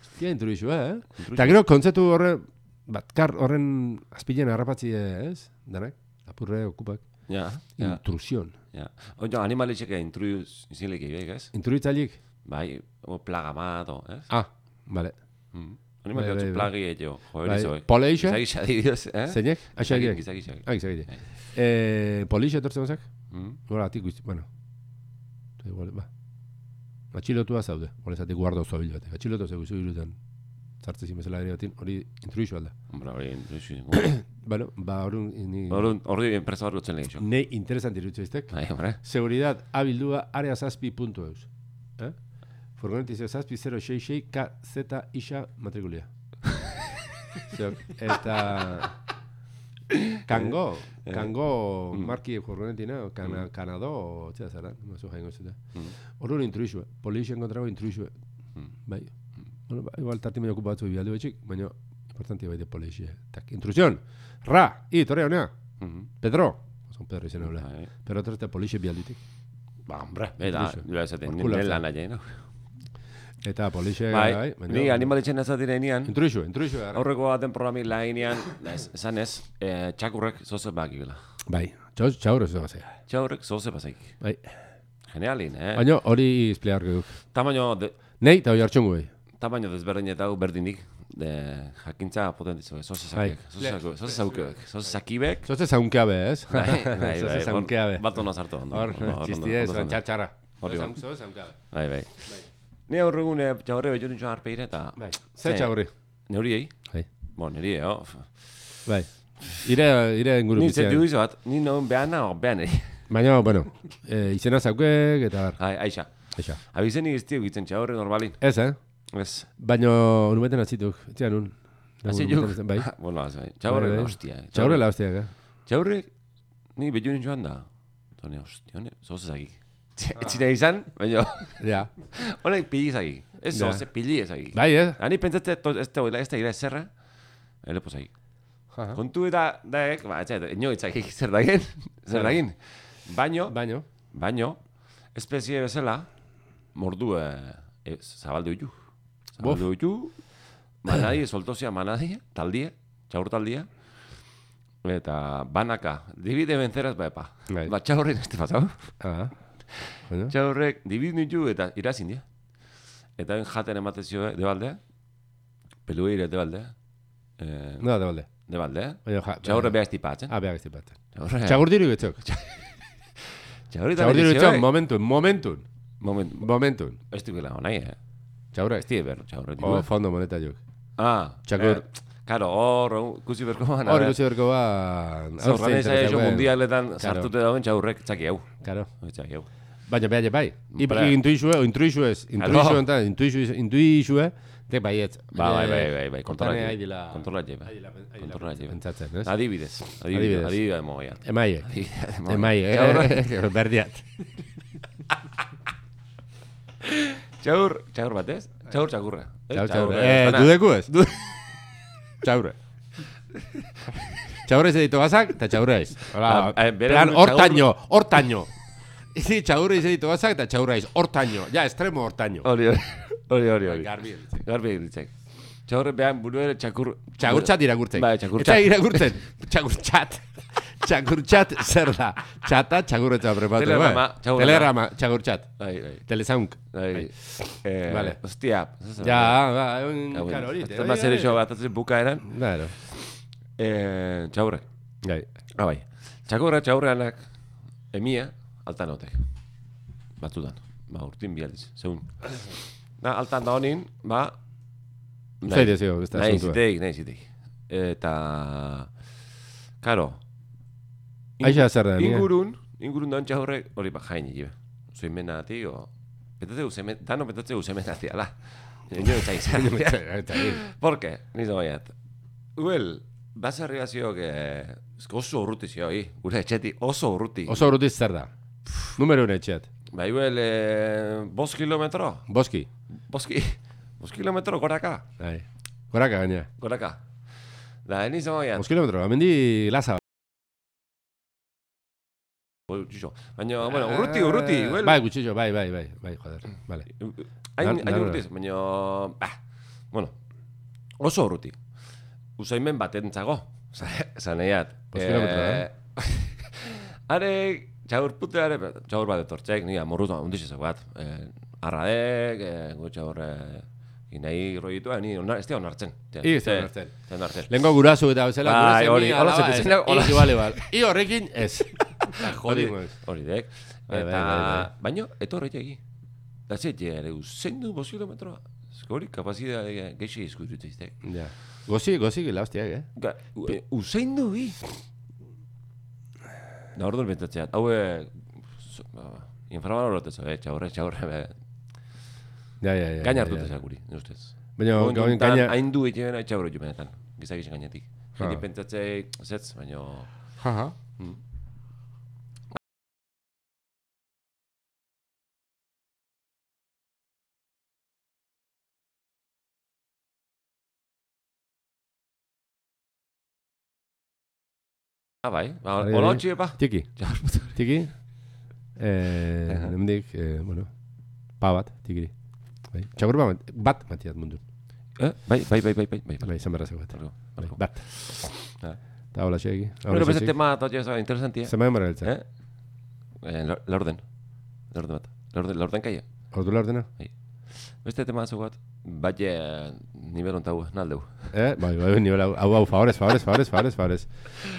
Speaker 3: Hostia, intruisua, eh?
Speaker 1: Intrutxu.
Speaker 3: Eta gero, kontzeptu horre, bat, kar horren azpilen harrapatzi, ez? Danak, apurre, okupak.
Speaker 1: Ja, ja,
Speaker 3: Intrusion.
Speaker 1: ja. Oino, animalitxeke intruz zinileki, bai, ez?
Speaker 3: Intruitzailik?
Speaker 1: Bai, o plaga mato, ez?
Speaker 3: Ah, bale.
Speaker 1: Mm.
Speaker 3: Bai,
Speaker 1: Animalitxeke
Speaker 3: bai, bai.
Speaker 1: plagi egin, jo, hori
Speaker 3: Bai,
Speaker 1: zoe.
Speaker 3: Poleixa?
Speaker 1: Gizagisa didioz, eh? Bai.
Speaker 3: Zeinek? Aixagiak?
Speaker 1: Gizagisa.
Speaker 3: Ah, gizagire. Eh, Poleixa etortzen bazak?
Speaker 1: Hmm.
Speaker 3: Gora, atik guzti, bueno. Eta Igual, ba. Atxilotua zaude, hori zatik guarda oso bil batek. Atxilotua zeu izu irutan. Zartze zimezela ere batin, hori intruisua alda.
Speaker 1: Hombre, hori intruzu.
Speaker 3: Bueno, ba, hori... Ni...
Speaker 1: Hori, hori enpresa bat gutzen lehixo.
Speaker 3: Nei interesant irutzu iztek.
Speaker 1: Bai, hombre.
Speaker 3: Seguridad abildua area zazpi puntu eus. Eh? Furgonetizio zazpi 066 KZ isa matrikulia. Zer, eta... Kango, kango marki furgonetina, kana, kanado, txea zara, mazu jaingo zeta. Horro intruisue, polizien kontrago intruisue. Bai. Bueno, ba, igual tarti baina okupatzu bialdu betxik, baina importantia baita polizia. Tak, intrusión! Ra! I, torre honea!
Speaker 1: Mhm.
Speaker 3: Pedro! Son Pedro izan hola.
Speaker 1: Bai.
Speaker 3: Pero otro está polizia bialditik.
Speaker 1: Ba, hombre, bera,
Speaker 3: Intruxu.
Speaker 1: lo esaten,
Speaker 3: Orkula
Speaker 1: nire
Speaker 3: zen.
Speaker 1: lan aien, no?
Speaker 3: Eta polixe bai,
Speaker 1: Bai, ni animalitxen azatira enean,
Speaker 3: Intruixu, intruixu gara.
Speaker 1: aurreko baten programi lainean, ez, esan ez, eh, txakurrek zoze bakikela.
Speaker 3: Bai, txau, txau, ez da zea.
Speaker 1: Txakurrek zoze bazaik.
Speaker 3: Bai.
Speaker 1: Eh. Genialin, eh?
Speaker 3: Baina hori izplearko duk.
Speaker 1: Tamaino, de,
Speaker 3: Nei, eta hori hartxungu bai.
Speaker 1: tamaino desberdinetau berdinik, de, jakintza potentizu, zoze
Speaker 3: Bai.
Speaker 1: zakiek, zoze zakiek, zoze zakiek, zoze zakibek,
Speaker 3: Zote zaunkea be, ez?
Speaker 1: Bai, bai,
Speaker 3: Zote
Speaker 1: bai,
Speaker 3: zaunkea be.
Speaker 1: hor- bat ondo zartu ondo.
Speaker 3: Hor,
Speaker 1: ondo, ondo,
Speaker 3: txistia ez,
Speaker 1: ondo zartu.
Speaker 3: txartxarra.
Speaker 1: Hori bai.
Speaker 3: Zote zaunkea be.
Speaker 1: Bai, bai. Ni aurregun eh, txaurre betu nintxoan arpeire eta...
Speaker 3: Bai, ze txaurri.
Speaker 1: Neuriei?
Speaker 3: Bai.
Speaker 1: Bo, niri, eh, oh.
Speaker 3: Bai. Ire, ire inguru
Speaker 1: Ni zetu
Speaker 3: bitzean.
Speaker 1: izo bat, ni non behana, o behan eri.
Speaker 3: Baina, bueno, eh, izena zaukek eta bar.
Speaker 1: Ai, aixa.
Speaker 3: Eixa.
Speaker 1: Abizen igiztio gitzen txaurre normalin.
Speaker 3: Ez, eh?
Speaker 1: Ez.
Speaker 3: Baina, unubeten atzituk. Txan un.
Speaker 1: Azituk.
Speaker 3: Unubeten Bai.
Speaker 1: Bueno, az, bai. Txaurre,
Speaker 3: Bai, bai.
Speaker 1: hostia. eh.
Speaker 3: Txaurre la hostiak, eh?
Speaker 1: Txaurre, ni betu nintxoan da. Tone, hostia, hone, zoze zagik. Txina izan, baina,
Speaker 3: Ja.
Speaker 1: honek pili zagik. Ez
Speaker 3: Ja.
Speaker 1: zoze, pili ezagik.
Speaker 3: Bai, eh?
Speaker 1: Ani pentsatzen, to- ez da, ez da, ira ezerra, elepo zagik.
Speaker 3: Aha.
Speaker 1: Kontu eta daek, ba, etxe, inoitzak egin zer dagin, zer dagin. Baino,
Speaker 3: Baina,
Speaker 1: baino, espezie bezala, mordu e, e, zabaldu ditu. Zabaldu ditu, manadi, soltozia manadi, taldie, txaur taldie, eta banaka, dibide benzeraz baepa.
Speaker 3: Bai.
Speaker 1: Ba, txaurren este pasau.
Speaker 3: Ah. Bueno.
Speaker 1: Txaurrek dibide ditu eta irazin dira. Eta ben jaten eh, ematezio debaldea, pelueire debaldea, eh,
Speaker 3: No, da balde.
Speaker 1: debaldea,
Speaker 3: Baina, ja.
Speaker 1: txaurre behaz eh? tipatzen.
Speaker 3: Ah, behar ez tipatzen.
Speaker 1: Txaurre,
Speaker 3: Txagurdiru getxok.
Speaker 1: Txaurri eta
Speaker 3: Txagurdiru
Speaker 1: benizio,
Speaker 3: getxok,
Speaker 1: eh?
Speaker 3: momentun, momentun.
Speaker 1: Moment,
Speaker 3: Momentun.
Speaker 1: ez dukela honai, eh?
Speaker 3: Txaurra ez
Speaker 1: Ez dira berro, txaurri.
Speaker 3: O fondo moneta juk.
Speaker 1: ah,
Speaker 3: txakur.
Speaker 1: Eh, karo, hor, kusi berko eh? man.
Speaker 3: Hor ikusi berko ba...
Speaker 1: Hor,
Speaker 3: zein interesatzen
Speaker 1: iso
Speaker 3: zauen.
Speaker 1: mundialetan
Speaker 3: Karo.
Speaker 1: sartute dauen txaurrek, txaki hau.
Speaker 3: Karo.
Speaker 1: Txaki hau.
Speaker 3: Baina behar bai.
Speaker 1: Bra.
Speaker 3: Ipa intuizue, o intuizue ez. Intuizue
Speaker 1: Karo.
Speaker 3: enten, intuizue, intuizue. Te baiet.
Speaker 1: Ba, bai, bai, bai, bai, kontrola
Speaker 3: Hortane
Speaker 1: jebe.
Speaker 3: aidila-
Speaker 1: Kontrola jebe.
Speaker 3: aidila- aidila
Speaker 1: Kontrola jebe.
Speaker 3: Pentsatzen, ez? eh.
Speaker 1: Adibidez, adibidez,
Speaker 3: Adibidez.
Speaker 1: adibidez moia.
Speaker 3: Emaiek.
Speaker 1: Adibidez moia.
Speaker 3: Emaiek.
Speaker 1: Txaurra-
Speaker 3: eh, Berdiat.
Speaker 1: Txaur, txaur bat ez? Txaur txakurra. Eh,
Speaker 3: Txau, txaurre.
Speaker 1: eh,
Speaker 3: Eh,
Speaker 1: bana.
Speaker 3: dudeku ez? Txaurre. Txaurre ez ditu bazak, eta txaurre ez. Hola,
Speaker 1: Ah, eh, bere
Speaker 3: plan,
Speaker 1: buru
Speaker 3: hortaño, hortaño. Izi, txaurre ez ditu bazak, eta txaurre ez. Hortaño, ja, estremo hortaño.
Speaker 1: Hori, hori, hori, hori, hori.
Speaker 3: Garbi.
Speaker 1: Garbi ditzek. Txaurre behan buru ere txakur...
Speaker 3: Txagurtxat irakurtzen.
Speaker 1: Bai, txakurtxat.
Speaker 3: Etxai irakurtzen. Txagurtxat. Txakurtxat zer da? Txata, txakurretza prepatu.
Speaker 1: Telegrama,
Speaker 3: bai.
Speaker 1: txakurra.
Speaker 3: Telegrama, txakurtxat.
Speaker 1: Bai, bai.
Speaker 3: Telezaunk.
Speaker 1: Bai. Eh,
Speaker 3: Vale.
Speaker 1: Hostia. ez ez-
Speaker 3: Ja, ba, egun
Speaker 1: Hau,
Speaker 3: karo hori. eh,
Speaker 1: Azten bat zer iso bat atzen bukaeran,
Speaker 3: Claro.
Speaker 1: eh, txaurrek.
Speaker 3: Gai.
Speaker 1: Ah, bai. Txakurra txaurreanak emia altan hotek. Batzutan. Ba, urtin bi aldiz, zeun. Na, altan da honin, ba... Bai.
Speaker 3: Zaire zio, beste
Speaker 1: Nahi
Speaker 3: asuntua.
Speaker 1: ziteik, nahi ziteik. Eta... Karo. in-
Speaker 3: Aixa zer da, nire?
Speaker 1: Ingurun, ingurun daun txaurrek, hori ba, jaini jibe. Zuimena ati, o... Petatzeu zemen, dano petatzeu zemen ati, ala. Ino etxai zan. Porque, nizo baiat. Uel, basarri baziok, eh, oso urruti zio, hi. Gure etxetik oso urruti.
Speaker 3: Oso urrutiz zer da. Numero une etxeat.
Speaker 1: Bai, uel, eh, bos kilometro.
Speaker 3: Boski.
Speaker 1: Boski, bos kilometro goraka.
Speaker 3: Bai. Goraka gaina.
Speaker 1: Goraka. Da, nizo baiat.
Speaker 3: Bost kilometro, amendi laza.
Speaker 1: Baina, bueno, urruti, urruti.
Speaker 3: Eh,
Speaker 1: Uel,
Speaker 3: Bai, gutxillo, bai, bai, bai. Bai, joder.
Speaker 1: Mm.
Speaker 3: Vale.
Speaker 1: Hain,
Speaker 3: Dar-
Speaker 1: hain
Speaker 3: darora.
Speaker 1: urtiz, baina... Bah, bueno, oso urruti. Usaimen batentzago, zaneiat.
Speaker 3: Bost kilometro, eh?
Speaker 1: Eh, Are, txaur pute, are, txaur bat etortzek, ni amorrutu handiz ezak bat. Eh, arradek, eh, gu txaur... Eh, Inai roitua, ni onar, ez dira onartzen.
Speaker 3: I, ez dira onartzen.
Speaker 1: Ez dira onartzen.
Speaker 3: Lengo gurasu eta bezala.
Speaker 1: Bai,
Speaker 3: gurasen
Speaker 1: hori,
Speaker 3: ni,
Speaker 1: hola
Speaker 3: alaba,
Speaker 1: zepitzen,
Speaker 3: ez.
Speaker 1: hola. Ah,
Speaker 3: I, bale, bale. I horrekin, ez.
Speaker 1: Hori,
Speaker 3: Jodimos.
Speaker 1: hori dek.
Speaker 3: Bai, bai,
Speaker 1: Eta,
Speaker 3: bai, bai.
Speaker 1: baino, etorri egi. Da ze, jere, zein du bost kilometroa? Ez hori kapazidea geixi izkututu iztek.
Speaker 3: Ja. Gozi, gozi, la hostiak, eh?
Speaker 1: Ga, u- e, usain du, hi? Da orduan bentatzean. Hau, e, inframan horretezo, eh? Txaurra, txaurra, be.
Speaker 3: Ja, ja, ja.
Speaker 1: Gaina
Speaker 3: ja,
Speaker 1: hartu
Speaker 3: ja.
Speaker 1: tezak guri, nire ustez.
Speaker 3: Baina,
Speaker 1: Momentu
Speaker 3: gain-
Speaker 1: honetan,
Speaker 3: gaina...
Speaker 1: Hain du egiten hain txaurra jo benetan. Gizak izan gainetik.
Speaker 3: Ah.
Speaker 1: Jende pentsatzei, zetz, baina...
Speaker 3: Aha.
Speaker 1: Ah, bai, ba,
Speaker 3: Bai,
Speaker 1: hola
Speaker 3: bai.
Speaker 1: hotxi, epa.
Speaker 3: Tiki,
Speaker 1: Txaur puta.
Speaker 3: tiki. Eh,
Speaker 1: Aha.
Speaker 3: hemendik, eh, bueno, pa bat, tikiri. Bai. Txakur bat, bat matiat mundu.
Speaker 1: Eh, Bai, bai, bai, bai, bai, bai, bai.
Speaker 3: Bai, izan berrazak bat.
Speaker 1: Barko,
Speaker 3: Bai,
Speaker 1: barko.
Speaker 3: bat.
Speaker 1: Ja.
Speaker 3: Eta hola xegi.
Speaker 1: Bueno, Ba, beste tema, totxe, interesantia.
Speaker 3: Zemaia marreltza.
Speaker 1: Eh? Eh, la- La orden. La orden bat. La orden, la orden kaia.
Speaker 3: Ordu la ordena?
Speaker 1: Beste tema zeu bat, bai nivel ontau, naldeu.
Speaker 3: Eh, bai, bai, nivel hau, hau, hau, favores, favores, favores, favores, favores.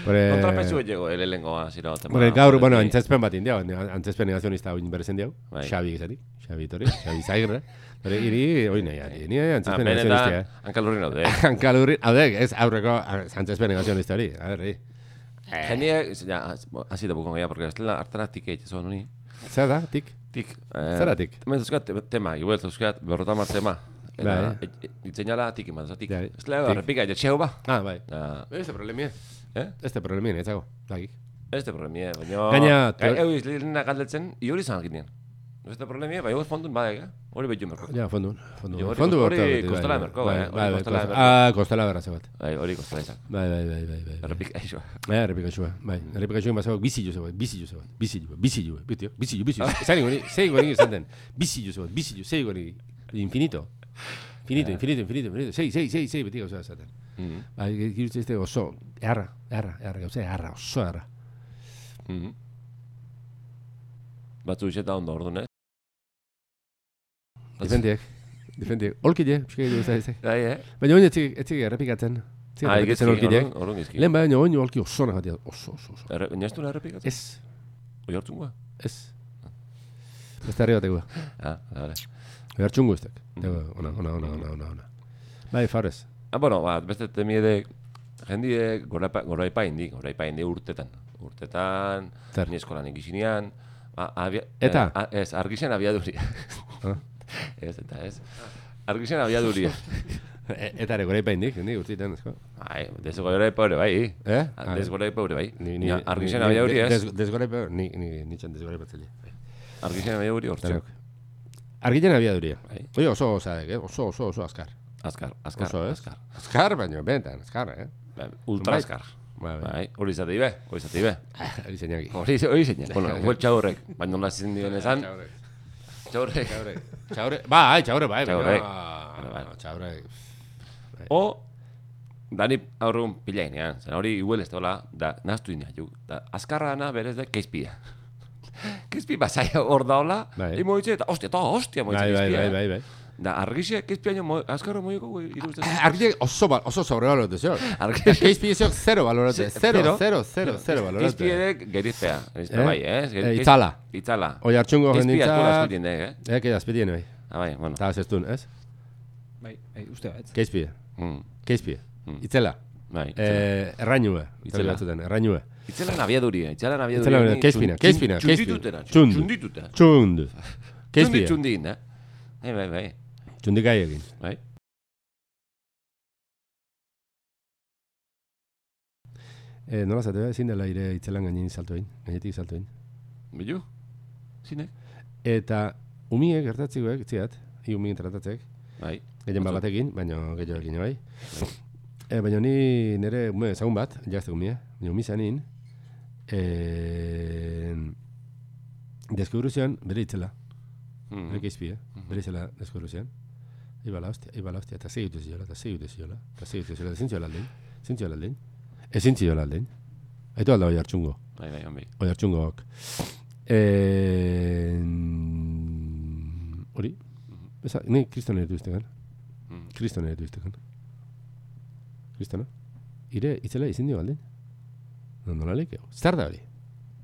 Speaker 3: Bore,
Speaker 1: Kontrapesu eh, llego, el elengoa zira bat.
Speaker 3: Bore, gaur, bueno, antzazpen bat indiau, antzazpen negazionista hori berezen diau,
Speaker 1: Bai.
Speaker 3: Xabi gizari, Xabi Torres, Xabi Zairra, bore, iri, hoi nahi, hori nahi,
Speaker 1: Ah,
Speaker 3: antzazpen negazionista,
Speaker 1: benetan,
Speaker 3: eh.
Speaker 1: hankalurri naude.
Speaker 3: Hankal hurri, hau dek, ez aurreko antzazpen negazionista hori, a ber, hi.
Speaker 1: Jendea, ja, haz- bo, hasi da bukon gaia, porque estela hartara tik eitz zon honi.
Speaker 3: Zer da, tik?
Speaker 1: Tik. Eh,
Speaker 3: Zeratik?
Speaker 1: Hemen zauzkat te- tema, iguel zauzkat, berrota mar tema. Eta, e,
Speaker 3: Bai.
Speaker 1: itzenala tik eman, zatik.
Speaker 3: Bai.
Speaker 1: Ez leo,
Speaker 3: Tik.
Speaker 1: repika, jetxeu ba.
Speaker 3: Ah, bai.
Speaker 1: Ah,
Speaker 3: Este problemien.
Speaker 1: Eh?
Speaker 3: Este problemien, ez dago, dakik.
Speaker 1: Este problemie, eh, baina...
Speaker 3: Gaina,
Speaker 1: Gai-
Speaker 3: te-
Speaker 1: Hau izlirina galdetzen, iori zan ginen. Este problemie, baina hau fondun badek, eh? Hori behitu merko.
Speaker 3: Ja, fondu. Fondu.
Speaker 1: Jo, hori-
Speaker 3: Fondu
Speaker 1: hori
Speaker 3: bota beti, bai,
Speaker 1: kostala
Speaker 3: bai.
Speaker 1: merko,
Speaker 3: Bai,
Speaker 1: eh? Hori
Speaker 3: bai, bai,
Speaker 1: kostala
Speaker 3: kosta-
Speaker 1: merko.
Speaker 3: Ah, kostala berrazo bat.
Speaker 1: Bai, hori kostela izan.
Speaker 3: Bai, bai, bai, bai, bai, bai.
Speaker 1: Errepika iso.
Speaker 3: Bai, errepikatsua, bai. Errepikatsua inbazio, bizi juzu bat, bizi juzu bat, bizi juzu, bizi juzu, bizi juzu, bizi juzu.
Speaker 1: Ah.
Speaker 3: Zain gori, zei gori izan den. Bizi juzu bat, bizi juzu, zei gori. Infinito.
Speaker 1: Ah.
Speaker 3: Infinito, infinito, infinito, infinito. Zei, zei, zei, zei beti gauza esaten.
Speaker 1: Mhm.
Speaker 3: Bai, girutze izte oso, erra, erra, erra, gauza, erra, oso erra.
Speaker 1: Mhm. Batzu iseta ondo orduan, eh?
Speaker 3: Defendiek, defendiek. Olkide, pixka gehiago ez da ez.
Speaker 1: Bai, eh?
Speaker 3: Baina oin etzik, etzik errepikatzen. Etzik
Speaker 1: Ah,
Speaker 3: errepikatzen olkideak.
Speaker 1: Orduan gizki.
Speaker 3: Bai, Lehen baina oin olki oso nahi batia. Oso, oso, oso.
Speaker 1: Erre, Naiz duela errepikatzen?
Speaker 3: Ez,
Speaker 1: Oi hartzungoa?
Speaker 3: ez. Beste harri batek guda.
Speaker 1: Ah, bale.
Speaker 3: Bertxungu ez dek. Dago, Ona, ona, ona, ona, ona, ona. Bai, Fares.
Speaker 1: Ah, bueno, ba, beste temiedek, jendide goraipa, goraipa indik, goraipa indik urtetan. Urtetan,
Speaker 3: Zer?
Speaker 1: ni eskolan ikizinean, ba, abia,
Speaker 3: Eta?
Speaker 1: eh, a, ez, argixen abiaduria.
Speaker 3: Ah.
Speaker 1: ez, eta ez. Argixen abiaduria.
Speaker 3: E- Eta ere, gure ipaindik, ni urtitan, esko.
Speaker 1: Bai, des goraipa hori bai.
Speaker 3: Eh?
Speaker 1: Des goraipa hori bai.
Speaker 3: Ni- ni-
Speaker 1: Ni Argixen
Speaker 3: ni-
Speaker 1: abiaduria ez.
Speaker 3: des- Desgoraipa, ni, ni, nitxan desgoraipatzele.
Speaker 1: Argixen abiaduria hortzio.
Speaker 3: Denok. Argiten abiaduria.
Speaker 1: Bai.
Speaker 3: Oie, oso, osadek, eh? oso, oso, oso, azkar.
Speaker 1: Azkar, azkar,
Speaker 3: Oso, ez?
Speaker 1: azkar.
Speaker 3: Azkar, baino, bentan, azkar, eh?
Speaker 1: Bai, Ultra azkar.
Speaker 3: Bai, bai.
Speaker 1: Bai, hori izate ibe, hori izate ibe.
Speaker 3: Hori zeinaki.
Speaker 1: Hori hori zein. Bueno, huel txaurrek, baina nola zizien dioen esan,
Speaker 3: Txaurek.
Speaker 1: txaurrek.
Speaker 3: Txaurek. bai, Txaurek. Bai, txaurek, bai.
Speaker 1: Txaurek.
Speaker 3: baina- Txaurek.
Speaker 1: O, Dani aurrun pilainean, zen hori iguel ez dola, da, naztu inaiu. Da, azkarra dana berez da, keizpia. keizpi basaia hor daola,
Speaker 3: Bai.
Speaker 1: imo hitze, eta ostia, eta ostia moitze
Speaker 3: Bai, bai,
Speaker 1: keizpia.
Speaker 3: bai, bai, bai.
Speaker 1: Da, argixe, keizpia nio, azkarra moiko iruzten.
Speaker 3: Argitek oso, ba- oso sobrevaloratzen zeo.
Speaker 1: Argixe,
Speaker 3: Keizpi zeo zero baloratzen.
Speaker 1: Ze-
Speaker 3: Zero,
Speaker 1: zero,
Speaker 3: zero, zero, zero baloratzen.
Speaker 1: Keizpiedek gerizpea.
Speaker 3: Eh?
Speaker 1: Gerizpea bai, ez? Geri-
Speaker 3: Eh,
Speaker 1: keiz-
Speaker 3: itzala.
Speaker 1: Itzala.
Speaker 3: Oi hartxungo
Speaker 1: Keizpia eskola
Speaker 3: jenditza...
Speaker 1: askutien dek, eh?
Speaker 3: Eki azpitien, bai.
Speaker 1: Ah, bai, bueno.
Speaker 3: Eta zestun, ez?
Speaker 2: Bai, bai, uste bat.
Speaker 3: Keizpi,
Speaker 1: Mm,
Speaker 3: keizpi.
Speaker 1: Mm.
Speaker 3: Itzela.
Speaker 1: Bai, itzela.
Speaker 3: Eh, errainue. Itzela
Speaker 1: Itzela.
Speaker 3: batzuten, errainue.
Speaker 1: Itzelan abiaduria, itzelan abiaduria.
Speaker 3: Itzelan abiaduria,
Speaker 1: ni
Speaker 3: keizpina,
Speaker 1: txun-
Speaker 3: keizpina,
Speaker 1: txun-
Speaker 3: keizpina.
Speaker 1: Txunditutera,
Speaker 3: Txund.
Speaker 1: txundituta.
Speaker 3: Txund.
Speaker 1: Txundi,
Speaker 3: Keizpi.
Speaker 1: txundin, eh? Bai, bai, bai.
Speaker 3: Txundikai egin.
Speaker 1: Bai.
Speaker 3: Eh, nola zate, ezin dela ire itzelan gainin saltu egin. Gainetik saltu egin.
Speaker 1: Bilu? Zine?
Speaker 3: Eta umie gertatzikoek, tziat, hi umien tratatzek,
Speaker 1: Bai.
Speaker 3: gehien bat
Speaker 1: Batzu.
Speaker 3: batekin, baino gehiago egin, bai. Eh, baina ni nire ume ezagun bat, jazte umie, baina umi zanin, eh, deskubru zion bere itzela,
Speaker 1: Mm.
Speaker 3: bere keizpi, eh? bere itzela deskubru zion. Ibala hostia, ibala hostia, eta segitu ziola, eta segitu ziola, eta segitu ziola, eta zintziola aldein, zintziola aldein, ezin ziola aldein. Aitu alda oi hartxungo.
Speaker 1: Bai, bai, onbi.
Speaker 3: Oi hartxungoak. Eh, hori? Eza, ni kriston ere duztekan.
Speaker 1: Mhm.
Speaker 3: Kriston ere duztekan. Kristona? Ire, itzela izin dio alde? No, nola leke? Zer da hori?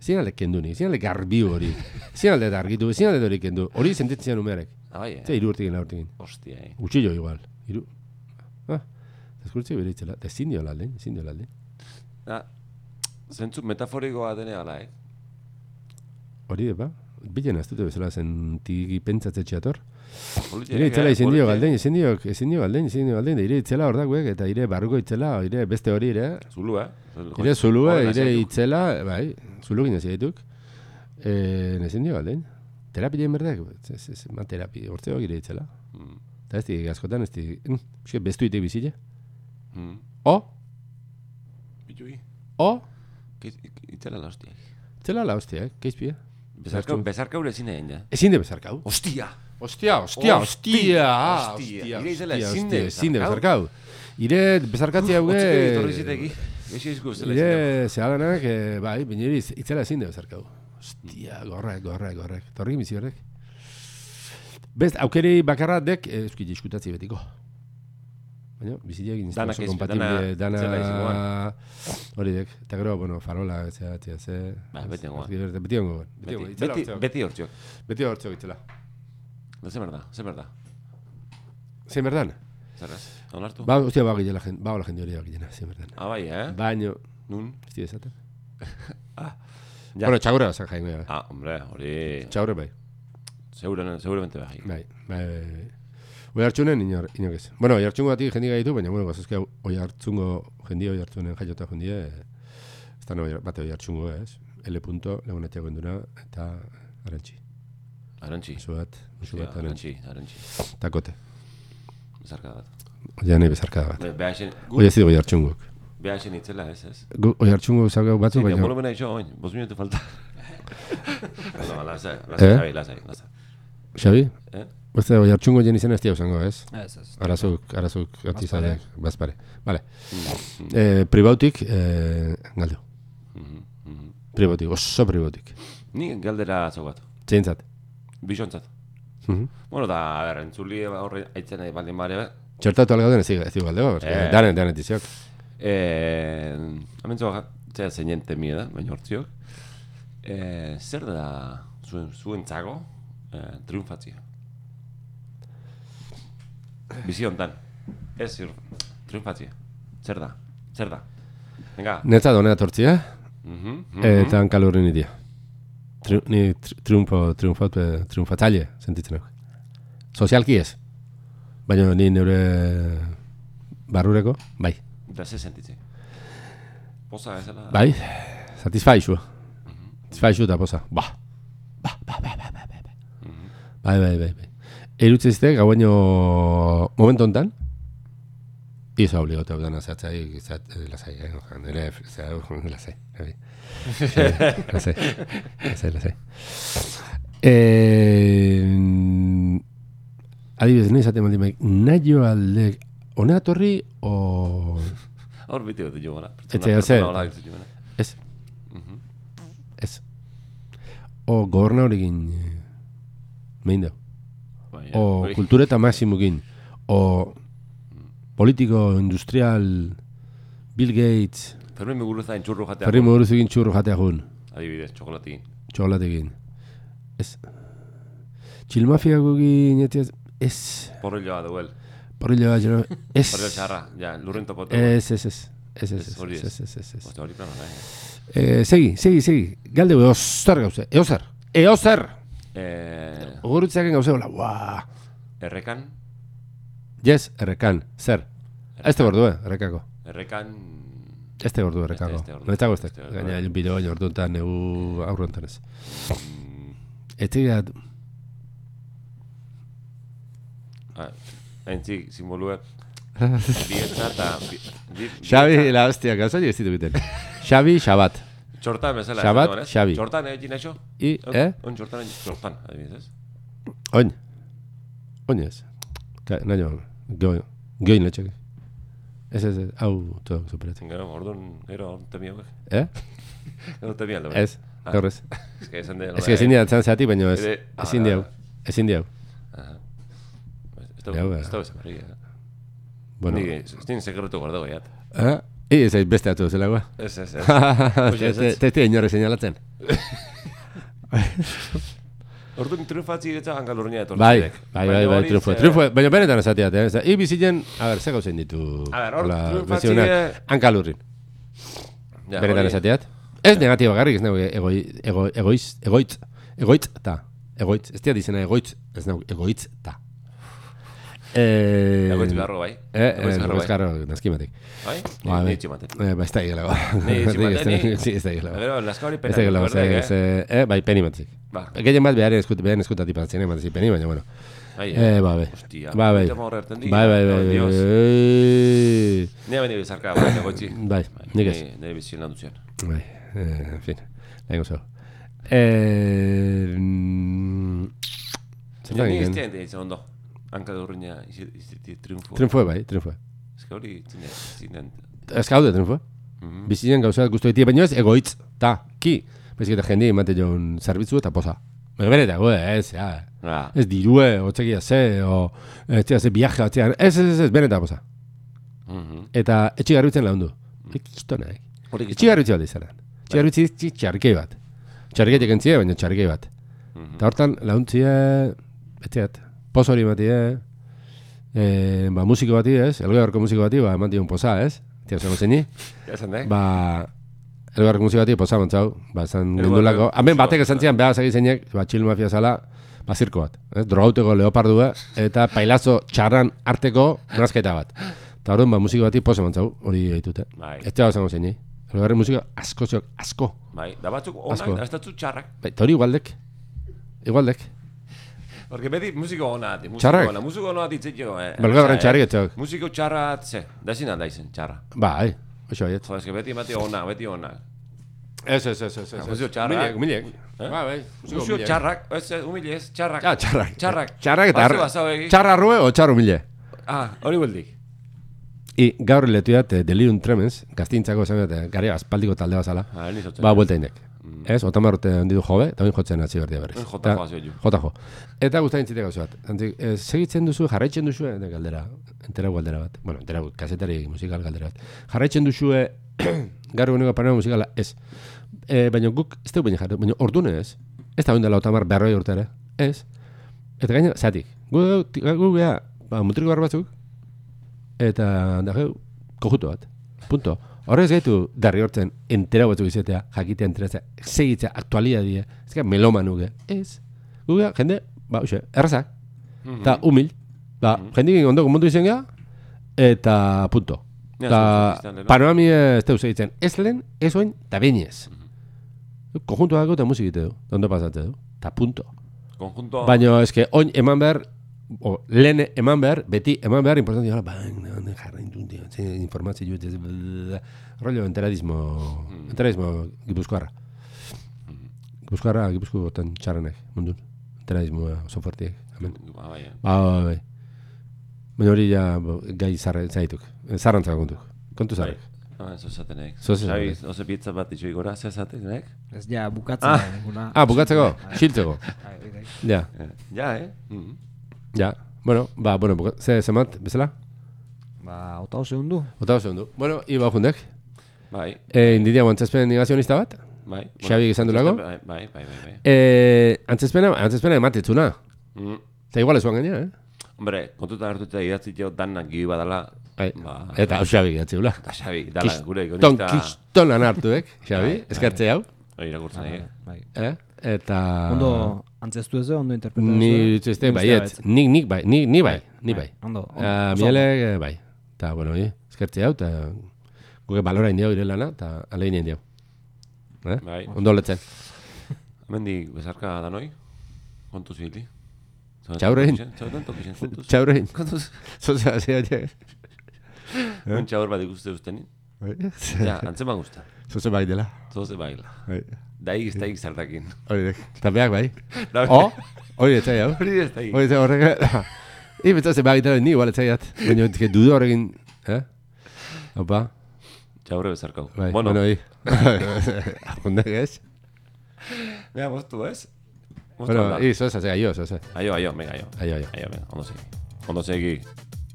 Speaker 3: Ezin alde kendu ni, ezin alde garbi hori. Ezin alde da argitu, ezin alde hori kendu. Hori sentitzen umearek.
Speaker 1: Ah, bai, eh?
Speaker 3: Zer hiru urtegin, lau urtegin.
Speaker 1: Ostia, eh?
Speaker 3: Utsillo igual. Hiru. Ah, deskurtzi bere itzela. Da ezin dio alde, ezin dio alde.
Speaker 1: Da, Ah, zentzu metaforikoa dene gala, eh?
Speaker 3: Hori da, ba? Bilen astute bezala sentigi pentsatze txator.
Speaker 1: Politia,
Speaker 3: Ire
Speaker 1: eh?
Speaker 3: itzela izin
Speaker 1: Politia.
Speaker 3: dio galdein, izin dio, izin dio galdein, izin dio galdein, da ire itzela hor dagoek, eta ire barruko itzela, ire beste hori ire,
Speaker 1: Zulu, eh?
Speaker 3: ire zulua,
Speaker 1: Horrela
Speaker 3: ire
Speaker 1: zaitu.
Speaker 3: itzela, bai, zulu ginez dituk, e, nezin dio galdein, terapien berdek, ez, ez, ma terapi, hortzeo ire itzela,
Speaker 1: Mm,
Speaker 3: eta ez di, askotan, ez di, mm, eske bestu itek bizile,
Speaker 1: mm.
Speaker 3: o,
Speaker 1: Bitui.
Speaker 3: o,
Speaker 1: Keiz- ik- Itzela la hostia.
Speaker 3: itzela la hostia, eh, keizpia.
Speaker 1: Bezarka, bezarka ure ezin egin, ja.
Speaker 3: Ezin de bezarkau.
Speaker 1: Ostia!
Speaker 3: Ostia,
Speaker 1: Hostia,
Speaker 3: ostia, ostia,
Speaker 1: hostia.
Speaker 3: ostia,
Speaker 1: Ire itzela
Speaker 3: ostia,
Speaker 1: ezin
Speaker 3: ostia,
Speaker 1: de
Speaker 3: ezin de
Speaker 1: bezarkau.
Speaker 3: bezarkau. Ire bezarkatzea hauge...
Speaker 1: Otziko etorri ziteki. Eixi izku, zela izan.
Speaker 3: Ire, zehalanak, eh, bai, bineri itzela ezin dugu zarkau. Ostia, gorrek, gorrek, gorrek. Torri bizi horrek. Bez, aukeri bakarra dek, eh, euskit diskutatzi betiko. Baina, bizileak inizta
Speaker 1: Danak
Speaker 3: oso
Speaker 1: ezin,
Speaker 3: kompatible,
Speaker 1: dana- zela
Speaker 3: dana,
Speaker 1: izangoan.
Speaker 3: hori dek. Eta gero, bueno, farola, etzea, etzea, ze...
Speaker 1: Ba, beti ongoan.
Speaker 3: Beti beti ongoan. Beti ongoan,
Speaker 1: Beti,
Speaker 3: itzela
Speaker 1: beti,
Speaker 3: hortzeo.
Speaker 1: beti hortziok.
Speaker 3: Beti hortzeo itzela.
Speaker 1: Da, ze berda, ze berda.
Speaker 3: Zein berdan?
Speaker 1: Zerraz, onartu?
Speaker 3: Ba, ostia, ba, gilena, ba, hola jende hori da gilena, zein berdan.
Speaker 1: Ah, bai, eh?
Speaker 3: Baino,
Speaker 1: Nun?
Speaker 3: ostia, esaten.
Speaker 1: Ja.
Speaker 3: Bueno, txagurra, zan jain, bai, bai.
Speaker 1: Ah, hombre, hori...
Speaker 3: Txagurra, bai.
Speaker 1: Seguran, seguramente bai.
Speaker 3: Bai, bai, bai, bai. Oi hartzunen inor, inor ez. Bueno, oi hartzungo batik jendik gaitu, baina, bueno, bazazke oi hartzungo jendi, oi hartzunen jaiota jendie, eh, ez da no, bate oi hartzungo, ez? L. punto, lagunatiago enduna, eta arantxi.
Speaker 1: Arantxi.
Speaker 3: Musu bat, musu
Speaker 1: Ja,
Speaker 3: bat, arantxi.
Speaker 1: Arantxi, arantxi.
Speaker 3: Takote.
Speaker 1: Bezarka bat.
Speaker 3: Oia nahi bezarka bat.
Speaker 1: Be- Behaxen, gu,
Speaker 3: Oia ez dugu oi hartzungok.
Speaker 1: behaxen itzela, ez, ez?
Speaker 3: Gu- Oi hartzungo zago
Speaker 1: Sí,
Speaker 3: batzuk,
Speaker 1: baina...
Speaker 3: baina...
Speaker 1: Bolumena iso, oin, bos minutu falta. Bueno, lasai,
Speaker 3: Eh?
Speaker 1: lasai, lasai, lasai.
Speaker 3: Xabi?
Speaker 1: Eh?
Speaker 3: Beste oi hartzungo jen izan ez dira usango, ez?
Speaker 2: Ez, ez.
Speaker 3: Arazuk, arazuk atizadek, bazpare. Vale.
Speaker 1: Ah. Mm, mm,
Speaker 3: Eh, pribautik, eh, galdu.
Speaker 1: mhm, mhm.
Speaker 3: Pribautik, oso pribautik.
Speaker 1: Ni galdera zau bat,
Speaker 3: Zeintzat.
Speaker 1: bisontzat.
Speaker 3: Mhm.
Speaker 1: Bueno, da, a ber, entzuli horre aitzen nahi baldin bare,
Speaker 3: Txertatu algauden ez ez dugu aldego,
Speaker 1: Eh.
Speaker 3: danet, danet iziok.
Speaker 1: eh, amentzo baja, zera zeinen temie da, baina hortziok. Eh, zer da zuen, zuen txago eh, triunfatzia? Bizi hontan. Ez, ir- triunfatzia. Zer da? Zer da? Venga.
Speaker 3: Netza donea tortzia,
Speaker 1: Mhm, mhm.
Speaker 3: eta hankal horren idia. Tri, ni tri, triunfo, triunfat, eh, triunfatzaile sentitzen hau. Sozialki ez. Baina ni neure barrureko, bai,
Speaker 1: Da ze sentitze. Poza bezala.
Speaker 3: bai, satisfaixua. Satisfaixu eta poza, ba, ba, ba, ba, ba, ba, ba, ba. Bai, bai, bai, bai. Erutzezte, gauaino momentu ontan, Izo obligatu hau dana zatzai, zat, eh, lasai, eh, nire, zera, lasai, lasai, Eh, lasai, lasai, lasai. Eh, adibidez, nahi zaten baldin baik, nahi jo alde, hona torri, o...
Speaker 1: Hor biti bat dugu gara.
Speaker 3: Etxe, etxe. Ez.
Speaker 1: Mhm.
Speaker 3: Ez. O goberna horrekin mehin da.
Speaker 1: Bai, eh,
Speaker 3: O kultura eta maximukin. O politiko, industrial, Bill Gates,
Speaker 1: Fermin Muguruza entxurru jatea.
Speaker 3: Ferri Moguruzekin txurro jatea joan.
Speaker 1: Adibidez, txokolatin.
Speaker 3: Txokolatekin. Ez. Txilmafiakokin etiaz... Ez.
Speaker 1: Porrilloa duel.
Speaker 3: Porrilo bat, txilmafia-
Speaker 1: Porrillo
Speaker 3: Ez.
Speaker 1: txarra. Ja, lurren topote.
Speaker 3: Ez, ez, ez. Ez, ez,
Speaker 1: Ez, hori
Speaker 3: ez,
Speaker 1: ez.
Speaker 3: ez, ez, ez, ez.
Speaker 1: Oste hori plana da, eh.
Speaker 3: Eh, segi, segi, segi. Galde eozer gauze. Eozer. Eozer.
Speaker 1: Eh,
Speaker 3: Ogurutzeaken gauze hola. Buah.
Speaker 1: Errekan,
Speaker 3: Yes, errekan. Zer. Este gordu, eh, errekako.
Speaker 1: errekan...
Speaker 3: Este gordu errekako.
Speaker 1: Este, este ordu.
Speaker 3: Noretako este.
Speaker 1: Este ordu.
Speaker 3: Gaina, bideo baino ordu enten egu aurrontan ez.
Speaker 1: mm,
Speaker 3: Etxe gara,
Speaker 1: ah, Entzik, simbolue... Dietza eta... bi- di-
Speaker 3: Xabi, la hostia, gauza nire ez ditu egiten. Xabi, Xabat.
Speaker 1: Txortan bezala.
Speaker 3: Xabat,
Speaker 1: esan duen, ez?
Speaker 3: Xabi.
Speaker 1: Txortan egin naixo?
Speaker 3: I, eh?
Speaker 1: On txortan, txortan, adibidez. ez?
Speaker 3: Oin. Oin ez. Ka- Naino, goin, goin letxek. Ez, ez, ez, hau, tuak superatu.
Speaker 1: Gero, orduan, gero, temio,
Speaker 3: Eh?
Speaker 1: gero temio alde.
Speaker 3: Ez,
Speaker 1: Ah.
Speaker 3: gaur ez.
Speaker 1: Ez que esan de...
Speaker 3: Ez que ezin dira atzan zeatik, baina ez.
Speaker 1: Ere-
Speaker 3: Ezin
Speaker 1: Ah,
Speaker 3: diau,
Speaker 1: ah,
Speaker 3: ezin diau.
Speaker 1: eh? Aha. Ez da,
Speaker 3: Ja, ba.
Speaker 1: ez da, ez da,
Speaker 3: Bueno,
Speaker 1: eh? Ni, ez din sekretu guardago jat.
Speaker 3: eh? I, ez, ez, beste atu zelagoa.
Speaker 1: Ez, ez, ez. Oxe, ez, ez.
Speaker 3: Te ez dira inorre seinalatzen.
Speaker 1: Orduan triunfatzi diretza hangalurnia etortzen.
Speaker 3: Bai, bai, bai, bai, trufo. Trufo, baina benetan esateat, eh? Zer, I bizitzen, a ber, ze gauzen ditu.
Speaker 1: A ber, hor
Speaker 3: hola,
Speaker 1: triunfatzi
Speaker 3: bezionak.
Speaker 1: dire-
Speaker 3: Hankalurrin. Benetan esateat. Ez negatibo garrik, ez nago egoi, ego, egoiz, egoitz, egoitz ta. Egoitz, ez diat izena egoitz, ez nago egoitz ta. Eh,
Speaker 1: Egoitz beharro bai.
Speaker 3: Eh,
Speaker 1: Egoitz
Speaker 3: eh,
Speaker 1: beharro
Speaker 3: egoitz
Speaker 1: bai.
Speaker 3: garro, nazkimatik.
Speaker 1: Bai?
Speaker 3: Ba,
Speaker 1: Ni
Speaker 3: bai.
Speaker 1: itxi baten.
Speaker 3: Eh, ba, ez da higela, ba.
Speaker 1: Ni itxi baten, ni-
Speaker 3: Sí, ez da higela, ba.
Speaker 1: Gero, laska hori
Speaker 3: Ez
Speaker 1: pena.
Speaker 3: da higela, ba,
Speaker 1: berdek,
Speaker 3: ze-
Speaker 1: eh?
Speaker 3: ze- eh, bai, peni batzik.
Speaker 1: Ba,
Speaker 3: Gehien bat behar eskut, behar eskutatik batzen eman zipeni, baina, bueno.
Speaker 1: bai, eh.
Speaker 3: Eh, ba, bai.
Speaker 1: Hostia,
Speaker 3: Ba, bai.
Speaker 1: tema horre erten
Speaker 3: Bai,
Speaker 1: di.
Speaker 3: bai, bai,
Speaker 1: Oh,
Speaker 3: bai,
Speaker 1: Dios.
Speaker 3: bai.
Speaker 1: Ni abeni bizarka, bai, egoitzi.
Speaker 3: Bai, nik ez.
Speaker 1: Nire bizien lan duzien.
Speaker 3: Bai, eh, en fin, lehenko zau. Eh, mm,
Speaker 1: Ni
Speaker 3: zertan
Speaker 1: ez
Speaker 3: ginen?
Speaker 1: dien ditzen ondo. Hangalurnia iziti triunfo.
Speaker 3: Triunfoe bai, triunfoe.
Speaker 1: Ez que hori zinen, zinen.
Speaker 3: Ez gaude triunfoe.
Speaker 1: Mhm.
Speaker 3: Bizien gauzat guztu ditia, baina ez egoitz, ta, ki. Baizik eta jende emate joan zerbitzu eta poza. Baina bere eta goe, ez, ja.
Speaker 1: Ah,
Speaker 3: Ez dirue, otzekia ze, o, etxea ze viaje, atzean, ez, ez, ez, ez, bere eta poza.
Speaker 1: mhm.
Speaker 3: Eta etxi garbitzen laundu. Ekistonak.
Speaker 1: Hori
Speaker 3: Etxi garbitze bat izanan. Etxi garbitze itxi txarkei bat. Txarkei tekentzia, baina txarkei bat.
Speaker 1: Mhm.
Speaker 3: Eta hortan launtzia, besteat, poz hori matie, eh, ba, musiko bati ez, elgoarko musiko bati, ba, eman dion poza ez, tia zen gozini,
Speaker 1: Ja esan da, eh?
Speaker 3: ba, elgoarko musiko bati poza mantzau, ba, zan
Speaker 1: Elgoarko
Speaker 3: gundulako, hemen
Speaker 1: musiko
Speaker 3: batek esan zian, behar zegizeinek, ba, txil mafia zala, ba, zirko bat, eh? drogauteko leopardua, eta pailazo txarran arteko nazketa bat. Eta horren, ba, musiko bati poza mantzau, hori ditute.
Speaker 1: Bai.
Speaker 3: Ez tia zen gozini, elgoarko musiko asko ziok, asko,
Speaker 1: Bai, da batzuk onak,
Speaker 3: Asko.
Speaker 1: da ez batzuk txarrak.
Speaker 3: Ba, eta hori igualdek, igualdek.
Speaker 1: Porque beti musiko ona ati, musiko
Speaker 3: Txarrak?
Speaker 1: ona, musiko ona ati txitxo, eh.
Speaker 3: Belgarren
Speaker 1: Osea,
Speaker 3: txarri
Speaker 1: eh,
Speaker 3: etxeak.
Speaker 1: Musiko txarra atze, da zin alda izen, txarra.
Speaker 3: Ba, eh, oso baiet.
Speaker 1: Jo, ez que beti emate ona, beti ona.
Speaker 3: Ez, ez, ez, ez, ez.
Speaker 1: Museo txarrak.
Speaker 3: Milek, milek.
Speaker 1: Eh?
Speaker 3: Ba, bai.
Speaker 1: Musiko txarrak, ez, ez, humile ez, txarrak.
Speaker 3: Ja, txarrak.
Speaker 1: Txarrak.
Speaker 3: Txarrak eta
Speaker 1: Bazte
Speaker 3: arra.
Speaker 1: bazau egi.
Speaker 3: Txarra arrue o txarro mile.
Speaker 1: Ah, hori bueldik.
Speaker 3: I gaur letu dat eh, delirium tremens, gaztintzako esan dut, eh, gari aspaldiko talde bazala.
Speaker 1: Ah, ni zotzen.
Speaker 3: Ba, buelta indek. Ez, otamar urte handi du jobe, eta oin jotzen atzi berdia berriz.
Speaker 1: Mm. Eh, jota
Speaker 3: Ta-
Speaker 1: jo hasi jo.
Speaker 3: Jota jo. Eta guztain zitek gauza bat. Antzik, eh, segitzen duzu, jarraitzen duzu, eta galdera, entera galdera bat. Bueno, entera kasetari musikal galdera bat. Jarraitzen duzu, eh, gaur eguneko panera musikala, ez. Eh, baina guk, ez dugu baina jarri, baina ordune ez. Ez da ondela otamar berroi urte ere, ez. Eta gaina, zatik, gu, gu, gu, gea, ba, mutriko barra batzuk, eta da geu, kojuto bat. Punto. Horrez gaitu darri hortzen entera batzuk izatea, jakitea enteratzea, segitzea, aktualidadia, ez gara melomanuke. Ez. Gugea, jende, ba, uxe, errazak,
Speaker 1: Mm.
Speaker 3: eta humil, ba, jendik ondoko mundu izan gea, eta punto.
Speaker 1: Ja,
Speaker 3: Eta
Speaker 1: zuen zuen izan,
Speaker 3: panorami ez teuz egiten, ez lehen, ez oin, eta beinez.
Speaker 1: Mm-hmm.
Speaker 3: Konjuntu dago eta musik egite du, eta ondo pasatzen du, eta punto.
Speaker 1: Konjunto.
Speaker 3: Baina, eske, oin eman behar, o, lehen eman behar, beti eman behar, importantia, hola, bang, bang, jarrain dut, informazio jut, ez, blablabla. rollo enteradismo, enteradismo gipuzkoarra. Gipuzkoarra, gipuzko gotan txarrenek, mundun, enteradismo oso fuertiek, hemen.
Speaker 1: Ba, bai, eh.
Speaker 3: Ba, ba, bai. Baina hori ja, bo, gai zarra, zaituk, zarrantzak kontuk, kontu
Speaker 1: Bai.
Speaker 3: zarrak.
Speaker 1: Ah, ez esatenek.
Speaker 3: Zo esaten
Speaker 1: Xabi,
Speaker 3: naik.
Speaker 1: oso pizza bat itxu igora, ez esatenek.
Speaker 2: Ez ja, bukatzen ah. da, ninguna.
Speaker 3: Ah, bukatzeko, xiltzeko.
Speaker 2: Bai, bai, bai.
Speaker 3: Ja,
Speaker 1: Eh, Ja, eh? Mhm.
Speaker 3: ja. Bueno, ba, bueno, buka, ze, zemat, bezala?
Speaker 2: Ba, otau zehundu.
Speaker 3: Otao segundu. Bueno, iba jundek.
Speaker 1: Bai,
Speaker 3: E, indidia guantzazpen negazionista bat?
Speaker 1: bai. bueno,
Speaker 3: Xabik izan du lago?
Speaker 1: Bai, bai, bai, bai. bai.
Speaker 3: E, antzazpena, antzazpena ematitzuna.
Speaker 1: Mm.
Speaker 3: Eta igual ezuan gaina, eh?
Speaker 1: Hombre, kontuta hartuta idatzi jo danak gibi badala.
Speaker 3: Bai.
Speaker 1: Ba,
Speaker 3: Eta hau xabi gatzula.
Speaker 1: eta Xabi, dala, gure
Speaker 3: Ton,
Speaker 1: ikonista.
Speaker 3: kistonan hartuek,
Speaker 1: Bai,
Speaker 3: xabi, eskartze hau.
Speaker 1: Hori irakurtzen egin.
Speaker 2: Bai.
Speaker 3: Eh? Eta...
Speaker 2: Ondo, antzestu ez ondo interpretatu
Speaker 3: Ni dituzte baiet. Nik, nik bai, nik, ni bai, ni bai.
Speaker 2: Ondo, ondo.
Speaker 3: Ah,
Speaker 2: oso ondo.
Speaker 3: Mielek, eh, bai. Eta, bueno, eh, eskertzi hau, eta guke balora indio ire lana, eta alein indio. Eh?
Speaker 1: Bai.
Speaker 3: Ondo letzen.
Speaker 1: Hemendik bezarka danoi. Kontuz hili.
Speaker 3: Txaurrein. Eh?
Speaker 1: Txaurrein tokixen, kontuz.
Speaker 3: Txaurrein,
Speaker 1: Kontuz.
Speaker 3: zoza zea jek.
Speaker 1: Un txaur bat ikuste ustenin. Ja, antzeman guzta.
Speaker 3: Zoza eh? bai dela. Bai.
Speaker 1: Zoze baila. Daik ez daik zartakin.
Speaker 3: Hori dek. Eta behak bai.
Speaker 1: Da-
Speaker 3: O, hori etzai hau.
Speaker 1: Hori ez daik.
Speaker 3: Hori etzai horrek. Ibe etzatzen behak dela, ni igual etzai jat. Baina, ke dudu horrekin, eh? Opa,
Speaker 1: Txaurre bezarkau.
Speaker 3: bai,
Speaker 1: Bueno,
Speaker 3: bueno, hi. Apundak ez?
Speaker 1: mea, moztu ez? Moztu
Speaker 3: Bueno,
Speaker 1: alda.
Speaker 3: hi, zoza zea, jo, zoza.
Speaker 1: Aio, aio, venga, aio.
Speaker 3: Aio, aio.
Speaker 1: Aio, venga, ondo segi. Ondo segi.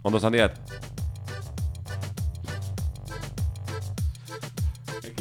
Speaker 1: Ondo zandiat.